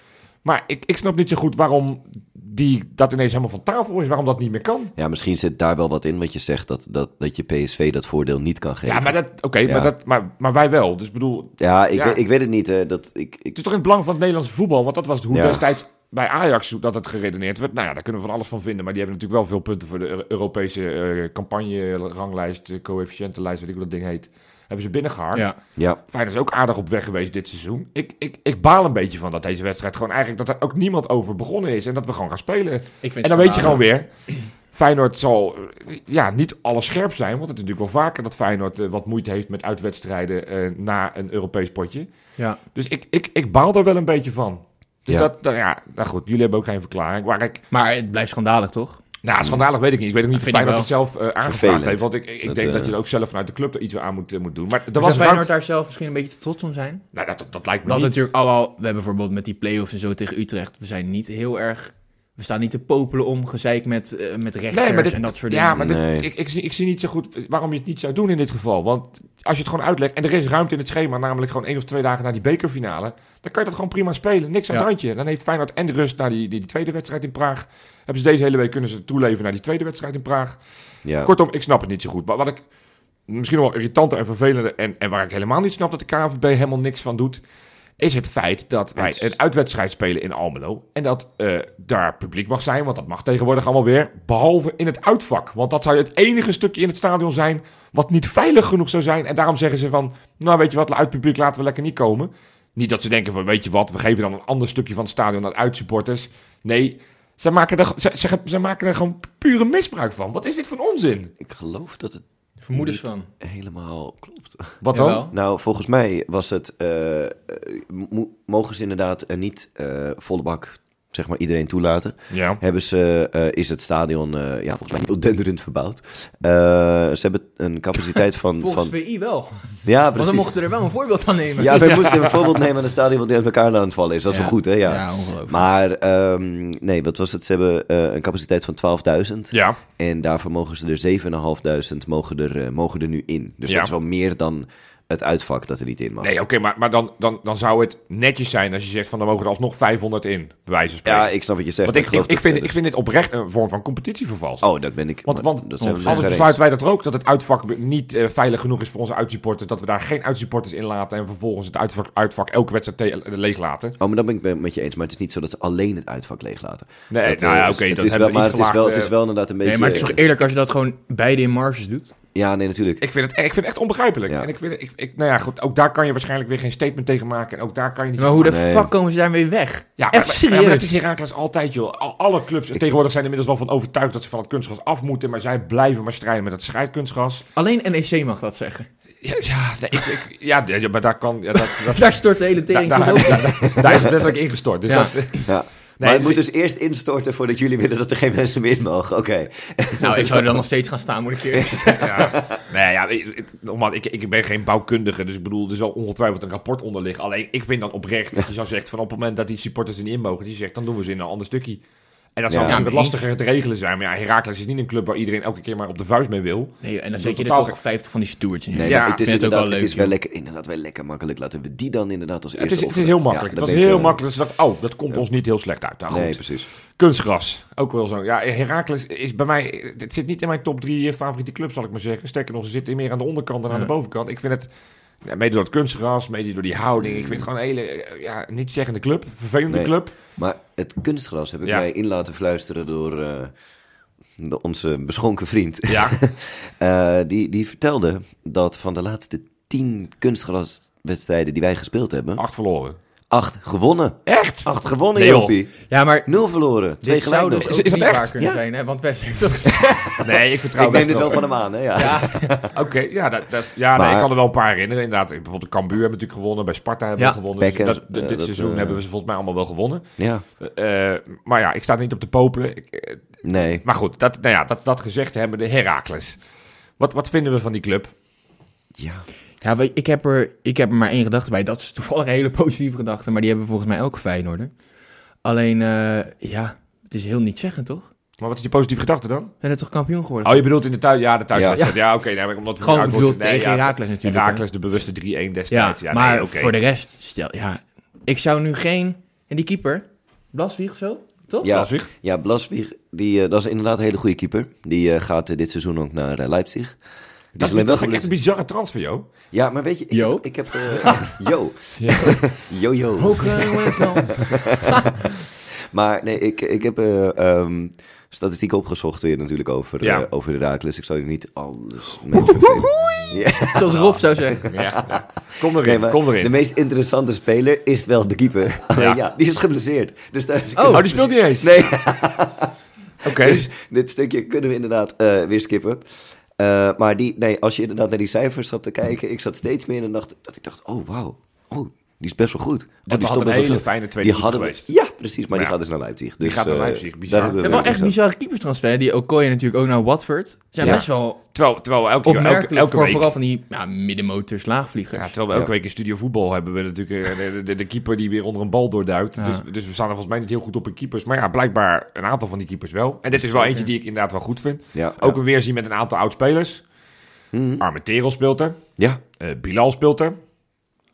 Maar ik, ik snap niet zo goed waarom die, dat ineens helemaal van tafel is. Waarom dat niet meer kan.
ja, misschien zit daar wel wat in wat je zegt, dat, dat, dat je PSV dat voordeel niet kan geven.
Ja, maar, dat, oké,
Ja.
maar, dat, maar, maar wij wel. Dus ik bedoel,
Ja, ik,
Ja.
Weet, ik weet het niet. Hè. Dat, ik, ik,
Het is toch in het belang van het Nederlandse voetbal? Want dat was het hoe
Ja.
destijds bij Ajax hoe dat het geredeneerd werd. Nou ja, daar kunnen we van alles van vinden. Maar die hebben natuurlijk wel veel punten voor de Euro- Europese eh campagne, ranglijst, eh, coëfficiëntenlijst, weet ik hoe dat ding heet. Hebben ze binnengehaald.
Ja.
ja,
Feyenoord is ook aardig op weg geweest dit seizoen. Ik, ik, ik baal een beetje van dat deze wedstrijd gewoon eigenlijk dat er ook niemand over begonnen is. En dat we gewoon gaan spelen.
Ik vind
En dan
het
weet je gewoon
schandalig.
weer. Feyenoord zal eh, ja, niet alles scherp zijn. Want het is natuurlijk wel vaker dat Feyenoord eh, wat moeite heeft met uitwedstrijden eh, na een Europees potje.
Ja.
Dus ik, ik, ik baal daar wel een beetje van. Dus
Ja.
dat, nou ja, nou goed, jullie hebben ook geen verklaring. Maar ik,
Maar het blijft schandalig, toch? Dus
nou, schandalig weet ik niet. Ik weet ook niet of
vind ik
Feyenoord het
wel.
zelf eh, aangevraagd
Vervelend.
heeft. Want ik, ik
Dat,
denk
eh,
dat je er ook zelf vanuit de club er iets aan moet, eh, moet doen. Maar er
Dat
was
was Dus Feyenoord
ruimte.
daar zelf misschien een beetje te trots om zijn.
Nou, dat, dat lijkt me
Dat
niet.
natuurlijk, oh, al, we hebben bijvoorbeeld met die play-offs en zo tegen Utrecht. We zijn niet heel erg. We staan niet te popelen om gezeik met, eh, met rechters
Nee, maar dit-
en dat soort dingen.
Ja, maar dit-
Nee.
ik, ik, zie, ik zie niet zo goed waarom je het niet zou doen in dit geval. Want als je het gewoon uitlegt en er is ruimte in het schema, namelijk gewoon één of twee dagen na die bekerfinale, dan kan je dat gewoon prima spelen. Niks aan
Ja.
het handje. Dan heeft Feyenoord en de rust naar die, die, die tweede wedstrijd in Praag. Hebben ze deze hele week kunnen ze toeleven naar die tweede wedstrijd in Praag.
ja.
Kortom, ik snap het niet zo goed. Maar wat ik misschien nog wel irritanter en vervelender en, en waar ik helemaal niet snap dat de KNVB helemaal niks van doet, is het feit dat wij
Eens.
een uitwedstrijd spelen in Almelo en dat eh, daar publiek mag zijn, want dat mag tegenwoordig allemaal weer, behalve in het uitvak. Want dat zou het enige stukje in het stadion zijn wat niet veilig genoeg zou zijn. En daarom zeggen ze van, nou weet je wat, uit publiek laten we lekker niet komen. Niet dat ze denken van, weet je wat, we geven dan een ander stukje van het stadion aan uitsupporters. Nee, ze maken, er, ze, ze, ze maken er gewoon pure misbruik van. Wat is dit voor onzin?
ik geloof dat het
Vermoedens
niet
van.
helemaal klopt.
Wat dan?
Jawel.
Nou, volgens mij was het. eh, eh, mo- mogen ze inderdaad eh, niet eh, volle bak zeg maar, iedereen toelaten.
Ja.
Hebben ze, eh, is het stadion eh, ja, volgens mij heel denderend verbouwd. Eh, ze hebben een capaciteit van.
Volgens
van
VI wel.
ja,
Want we
precies.
mochten er wel een voorbeeld aan nemen.
Ja, wij moesten een voorbeeld nemen aan een stadion wat die uit elkaar aan het vallen is. Dat is
Ja.
wel goed, hè? Ja.
Ja, ongelooflijk.
Maar ehm, nee, wat was het? Ze hebben eh, een capaciteit van 12.000.
Ja.
En daarvoor mogen ze er 7.500 mogen er, eh, mogen er nu in. Dus
Ja.
dat is wel meer dan het uitvak dat er niet in mag.
Nee, oké, maar, maar dan, dan, dan zou het netjes zijn als je zegt van dan mogen er alsnog 500 in, bij wijze van spreken.
ja, ik snap wat je zegt.
Want
maar
ik,
geloof
ik, ik,
dat-
vind,
dat-
ik vind dit oprecht een vorm van competitievervalsing.
Oh, dat ben ik.
want
maar
want
dat zijn we
anders
zeker eens.
besluiten wij dat er ook, dat het uitvak niet eh, veilig genoeg is voor onze uitsupporters. Dat we daar geen uitsupporters in laten en vervolgens het uitvak, uitvak elke wedstrijd te- leeg laten.
Oh, maar dat ben ik met- met je eens. Maar het is niet zo dat ze alleen het uitvak leeglaten.
Nee,
Dat,
nou
eh,
ja,
dus
oké,
het
dat
is
hebben
wel-
we
Maar
iets
het is wel, het
verlaagd,
is
eh.
wel inderdaad een beetje...
Nee, maar het is toch eerlijk als je dat gewoon beide in marges doet?
Ja, nee, natuurlijk.
Ik vind het, ik vind het echt onbegrijpelijk.
Ja.
En ik vind, het- ik, ik, nou ja, goed, ook daar kan je waarschijnlijk weer geen statement tegen maken. En ook daar kan je niet...
Maar hoe de
Nee.
fuck komen ze daarmee weg?
ja,
echt
maar-
serieus?
maar het is Herakles altijd, joh. Al- Alle clubs tegenwoordig zijn inmiddels wel van overtuigd dat ze van het kunstgras af moeten. Maar zij blijven maar strijden met dat scheidkunstgras.
Alleen NEC mag dat zeggen.
Ja, ja, nee, ik, ik- ja, d- ja, maar daar kan... Ja, dat, dat,
Daar stort de hele
daar,
tering
daar,
op.
daar- daar is het letterlijk ingestort. Dus
Ja.
dat,
Ja. maar het moet dus eerst instorten voordat jullie willen dat er geen mensen meer in mogen. Oké.
Nou, ik zou er dan nog steeds gaan staan, moet ik eerlijk zeggen.
ja. Nee, ja, ik- ik- nogmaals, ik, ik ben geen bouwkundige, dus ik bedoel, er zal ongetwijfeld een rapport onder liggen. Alleen, ik vind dan oprecht, dat je zou zeggen, van op het moment dat die supporters er niet in mogen, die zegt, dan doen we ze in een ander stukje. En dat zou
Ja.
misschien
Ja,
wat lastiger te regelen zijn, maar ja, Heracles is niet een club waar iedereen elke keer maar op de vuist mee wil.
Nee, en dan
Dat
zet je er
totaal
toch
gek.
50 van die stewards in.
Nee,
Ja,
maar het
vind
is
het ook
inderdaad,
wel
het
leuk,
is wel
joh.
lekker, inderdaad wel lekker makkelijk. Laten we die dan inderdaad als
het,
eerste
is, het is
opzetten.
heel
Ja,
makkelijk.
daar
het was
ben ik,
heel
eh,
makkelijk. Dus ik dacht, oh, dat komt ons niet heel slecht uit. Nou, goed.
Nee, precies.
Kunstgras, ook wel zo. Ja, Heracles is bij mij, het zit niet in mijn top drie eh, favoriete clubs, zal ik maar zeggen. Sterker nog, ze zitten meer aan de onderkant dan aan de
Ja.
bovenkant. Ik vind het, ja, mede door het kunstgras, mede door die houding, ik vind het gewoon een hele, eh, ja, niet zeggende club, vervelende
Nee.
club.
Maar het kunstgras heb ik
Ja.
mij in laten fluisteren door eh, de- onze beschonken vriend.
Ja,
Eh, die, die vertelde dat van de laatste tien kunstgraswedstrijden die wij gespeeld hebben,
acht verloren.
acht gewonnen.
Echt?
Acht gewonnen,
Nee, joh.
Jopie.
Ja, maar
Nul verloren. Twee
dit zou
gelijk nog.
dus
Is-
ook
is dat
niet
echt?
waar kunnen
Ja.
zijn, hè? Want Wes heeft dat gezegd.
Nee, ik vertrouw
Ik neem
best
dit
wel.
wel van hem aan, hè? Ja.
Oké, ja, dat, dat- ja nee,
Maar-
ik kan er wel een paar herinneren. Inderdaad, bijvoorbeeld de Cambuur hebben we natuurlijk gewonnen, bij Sparta hebben
Ja.
we gewonnen. Dus
Bekken,
dat- dit
eh, dat,
seizoen
eh,
hebben we ze volgens mij allemaal wel gewonnen.
ja.
Eh, eh, maar ja, ik sta niet op te popelen. Ik, eh,
Nee.
Maar goed, dat, nou ja, dat, dat gezegd hebben de Herakles. Wat, wat vinden we van die club?
Ja.
Ja, weet je, ik heb, er, ik heb er maar één gedachte bij. Dat is toevallig een hele positieve gedachte, maar die hebben volgens mij elke Feyenoorder. Alleen, eh, ja, het is heel niet zeggen, toch? We
Maar wat is die positieve gedachte dan?
zijn er toch kampioen geworden?
Oh, je bedoelt in de thuis... Ja, de thuiswedstrijd. Ja, oké. nee, maar omdat we
Gewoon
uit
bedoeld
moeten- nee,
tegen
ja,
Heracles natuurlijk. hè?
Heracles, de bewuste 3-1 destijds.
Ja,
Ja, nee,
maar
oké.
voor de rest, stel, ja, ik zou nu geen... En die keeper, Blaswieg of zo, toch?
Ja,
Blaswig?
ja Blaswig, die, eh, dat is inderdaad een hele goede keeper. Die eh, gaat eh, dit seizoen ook naar eh, Leipzig. Die
Dat is
alleen wel
toch echt een
geblesseerd.
bizarre transfer, joh.
Ja, maar weet je, ik,
Jo?
ik heb... eh, jo.
Ja.
Jo, jo.
Ook eh, hoe heet het nou?
Maar nee, ik, ik heb eh, ehm, statistieken opgezocht weer natuurlijk over, eh,
Ja.
over de Raakles. Ik zou je niet alles mee vervelen. Ja.
Zoals Rob zou zeggen.
Ja, ja. Kom erin,
Nee, maar
kom erin.
De meest interessante speler is wel de keeper. Alleen,
Ja.
Ja, die is geblesseerd. Dus daar
Oh.
Oh, die speelt niet eens?
Nee,
Oké.
dus dit stukje kunnen we inderdaad eh, weer skippen. Eh, maar die, nee, als je inderdaad naar die cijfers zat te kijken, ik zat steeds meer en dacht dat ik dacht, oh wauw, oh, die is best wel goed. Oh,
Dat
die
had een
best wel
hele
veel.
fijne tweede
die hadden we-
geweest.
Ja, precies, maar
Maar
die
ja.
gaat dus naar Leipzig. Dus,
gaat naar
eh,
Leipzig, bizar.
daar hebben
We
we
hebben wel
weer
echt
iets aan.
bizarre keeperstransfer. Die Okoye natuurlijk ook naar Watford. Zijn
Ja.
best wel
Terwijl, terwijl we elke,
opmerkelijk
elke, elke
voor
week...
vooral van die ja, middenmotors, laagvliegers.
Ja, terwijl we elke
Ja.
week in studio voetbal hebben we natuurlijk eh, de, de, de keeper die weer onder een bal doorduikt.
Ja.
Dus, dus we staan er volgens mij niet heel goed op in keepers. Maar ja, blijkbaar een aantal van die keepers wel. En dit is wel eentje die ik inderdaad wel goed vind.
Ja,
Ook een weerzien met een aantal oud-spelers.
Mhm.
Armenteros speelt er.
ja.
eh, Bilal speelt er.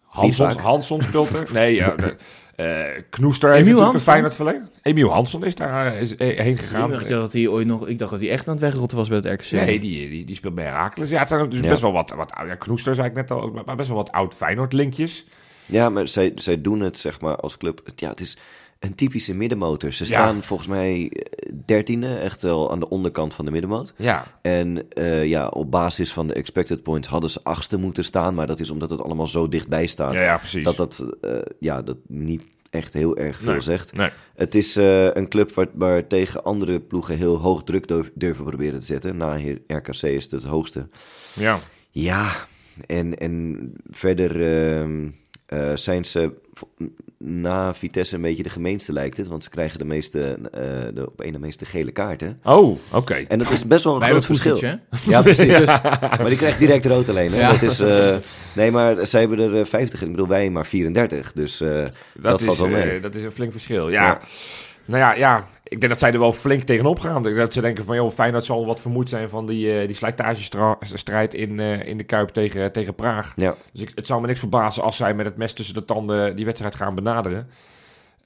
Hanson,
vaak.
Hanson speelt er. Nee, eh, de- eh, Knoester heeft
Emiel
natuurlijk een
Hanson?
fijn wat verleden. Emiel Hanson is daar eh, is, eh, heen
Ik
gegaan. Eh,
dacht dat hij ooit nog, ik dacht dat hij echt aan het wegrotten was bij het RKC.
Nee, die, die, die speelt bij Herakles. Ja, het zijn dus
Ja.
best wel wat, wat ja, Knoester zei ik net al, maar best wel wat oud-Feyenoord-linkjes.
Ja, maar zij, zij doen het zeg maar als club. Ja, het is een typische middenmotor. Ze
Ja.
staan volgens mij eh, dertiende, echt wel aan de onderkant van de middenmoot.
Ja,
En eh, ja, op basis van de expected points hadden ze achtste moeten staan. Maar dat is omdat het allemaal zo dichtbij staat.
ja, ja precies.
dat dat, eh, ja, dat niet echt heel erg veel
Nee.
zegt.
Nee.
Het is eh, een club waar, waar tegen andere ploegen heel hoog druk durf- durven proberen te zetten. Na hier RKC is het het hoogste.
Ja.
Ja, en, en verder ehm, eh, zijn ze v- na Vitesse een beetje de gemeenste lijkt het. Want ze krijgen de meeste, eh, de op één de meeste gele kaarten.
Oh, oké.
En dat is best wel een
Bij
groot
dat
verschil.
Poesic, hè?
Ja, precies.
Dus-
Maar die krijgt direct rood alleen. Hè?
Ja.
Dat is, eh, nee, maar zij hebben er eh, 50. Ik bedoel, wij maar 34. Dus eh,
Dat,
dat
is,
valt wel
eh,
mee.
dat is een flink verschil. Ja.
Ja.
Nou ja, ja. ik denk dat zij er wel flink tegenop gaan. Ik denk dat ze denken van, joh, Feyenoord zal wat vermoeid zijn van die, eh, die slijtagestrijd in, eh, in de Kuip tegen, tegen Praag.
Ja.
Dus ik, het zou me niks verbazen als zij met het mes tussen de tanden die wedstrijd gaan benaderen.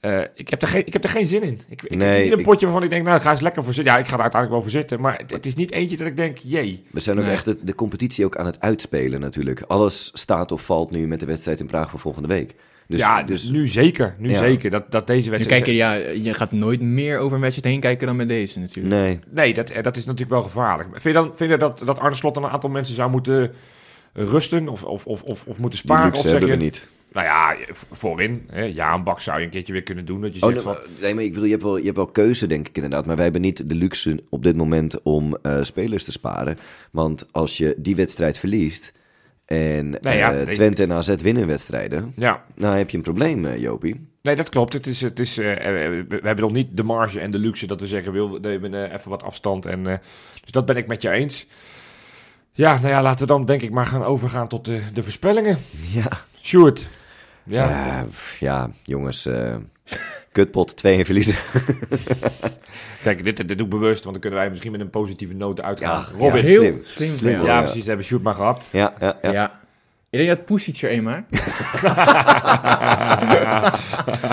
Eh, ik, heb er geen, ik heb er geen zin in. Ik, ik
Nee,
heb niet een
ik-
potje waarvan ik denk, nou, ga eens lekker voor zitten. Ja, ik ga er uiteindelijk wel voor zitten. Maar het, het is niet eentje dat ik denk, jee.
We zijn ook
Nee.
echt de, de competitie ook aan het uitspelen natuurlijk. Alles staat of valt nu met de wedstrijd in Praag voor volgende week. Dus,
ja,
dus
nu zeker. Nu
Ja.
zeker. Dat, dat deze
Nu
wedstrijd...
kijk je, ja, je gaat nooit meer over een wedstrijd heen kijken dan met deze natuurlijk.
nee.
Nee, dat, eh, dat is natuurlijk wel gevaarlijk. Vind je, dan, vind je dat, dat Arne Slot dan een aantal mensen zou moeten eh, rusten of, of, of, of, of moeten
Die
sparen? Of
luxe
zeg
hebben we
je,
niet.
nou ja, v- voorin. Hè, ja, een bak zou je een keertje weer kunnen doen. Dat je
Oh,
zegt
nee,
van,
maar, nee, maar ik bedoel, je hebt, wel, je hebt wel keuze, denk ik inderdaad. Maar wij hebben niet de luxe op dit moment om eh, spelers te sparen. Want als je die wedstrijd verliest en eh,
ja, nee.
Twente en AZ winnen wedstrijden,
ja,
nou heb je een probleem, eh, Jopie.
Nee, dat klopt. Het is, het is, eh, eh, we we hebben nog niet de marge en de luxe dat we zeggen, wil, we nemen eh, even wat afstand. En, eh, dus dat ben ik met je eens. Ja, nou ja, laten we dan denk ik maar gaan overgaan tot de, de voorspellingen.
Ja,
Sjoerd. Ja.
ja. Eh, ja jongens, eh, kutpot 2 en verliezen.
Kijk, dit, dit doe ik bewust, want dan kunnen wij misschien met een positieve noot uitgaan.
Ja,
Robin.
ja,
Ja,
heel
slim,
slim
slim,
van jou.
hoor, ja.
precies. Dat hebben we Sjoerd maar gehad.
Ja, ja, ja.
Ik denk dat Poesic er een maakt.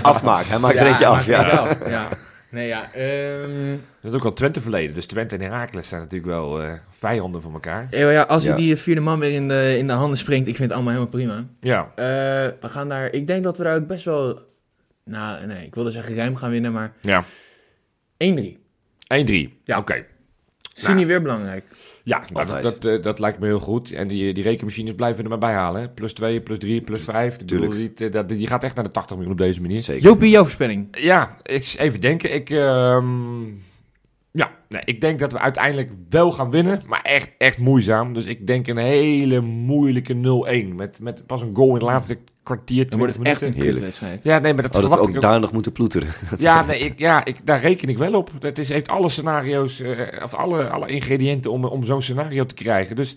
Afmaak, hij maakt er eentje af. Ja.
ja. Nee, ja. ehm,
Dat is ook al Twente verleden. Dus Twente en Herakles zijn natuurlijk wel eh, vijanden van elkaar.
eh, ja als
Ja.
hij die vierde man weer in de, in de handen springt, ik vind het allemaal helemaal prima.
Ja.
Eh, we gaan daar, ik denk dat we daar ook best wel, nou nee, ik wilde zeggen ruim gaan winnen, maar
Ja.
1-3.
Nou,
1-3. Ja,
Ja.
oké.
Zie niet weer belangrijk.
Ja, nou, dat,
Altijd.
dat, eh, dat lijkt me heel goed. En die, die rekenmachines blijven er maar bij halen. hè. Plus 2, plus 3, plus 5.
Tuurlijk.
Die, die, dat- die gaat echt naar de 80 miljoen op deze manier.
Zeker.
Jopie, jouw voorspelling.
Ja, ik, even denken. Ik, ehm, ja, nee, ik denk dat we uiteindelijk wel gaan winnen. Maar echt, echt moeizaam. Dus ik denk een hele moeilijke 0-1. Met, met pas een goal in het laatste kwartier,
Dan wordt
20
het echt een
minuten.
Heerlijk.
kutwedstrijd.
Ja, nee, maar dat
Oh, dat we
verwacht ik
ook
ook
daar nog moeten ploeteren.
ja, nee, ik, ja ik, daar reken ik wel op. Het is, heeft alle scenario's, eh, of alle, alle ingrediënten om, om zo'n scenario te krijgen. Dus,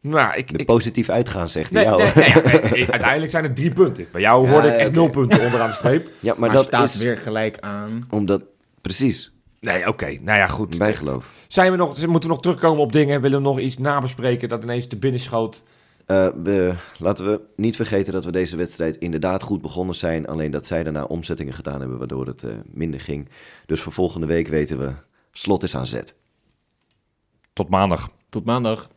nou, ik...
De
ik
positief uitgaan, zegt hij.
nee,
Ja,
nee,
hoor.
nee, ja, nee, nee, uiteindelijk zijn het drie punten. Bij jou
Ja,
hoorde ik echt
oké.
nul punten onderaan de streep.
Ja, maar
Maar,
dat
staat
is
weer gelijk aan.
omdat... Precies,
Nee, oké. Nou ja, goed.
bijgeloof.
Zijn we nog, moeten we nog terugkomen op dingen? Willen we nog iets nabespreken dat ineens te binnen schoot?
Eh, we, laten we niet vergeten dat we deze wedstrijd inderdaad goed begonnen zijn. Alleen dat zij daarna omzettingen gedaan hebben, waardoor het eh, minder ging. Dus voor volgende week weten we, slot is aan zet.
Tot maandag.
Tot maandag.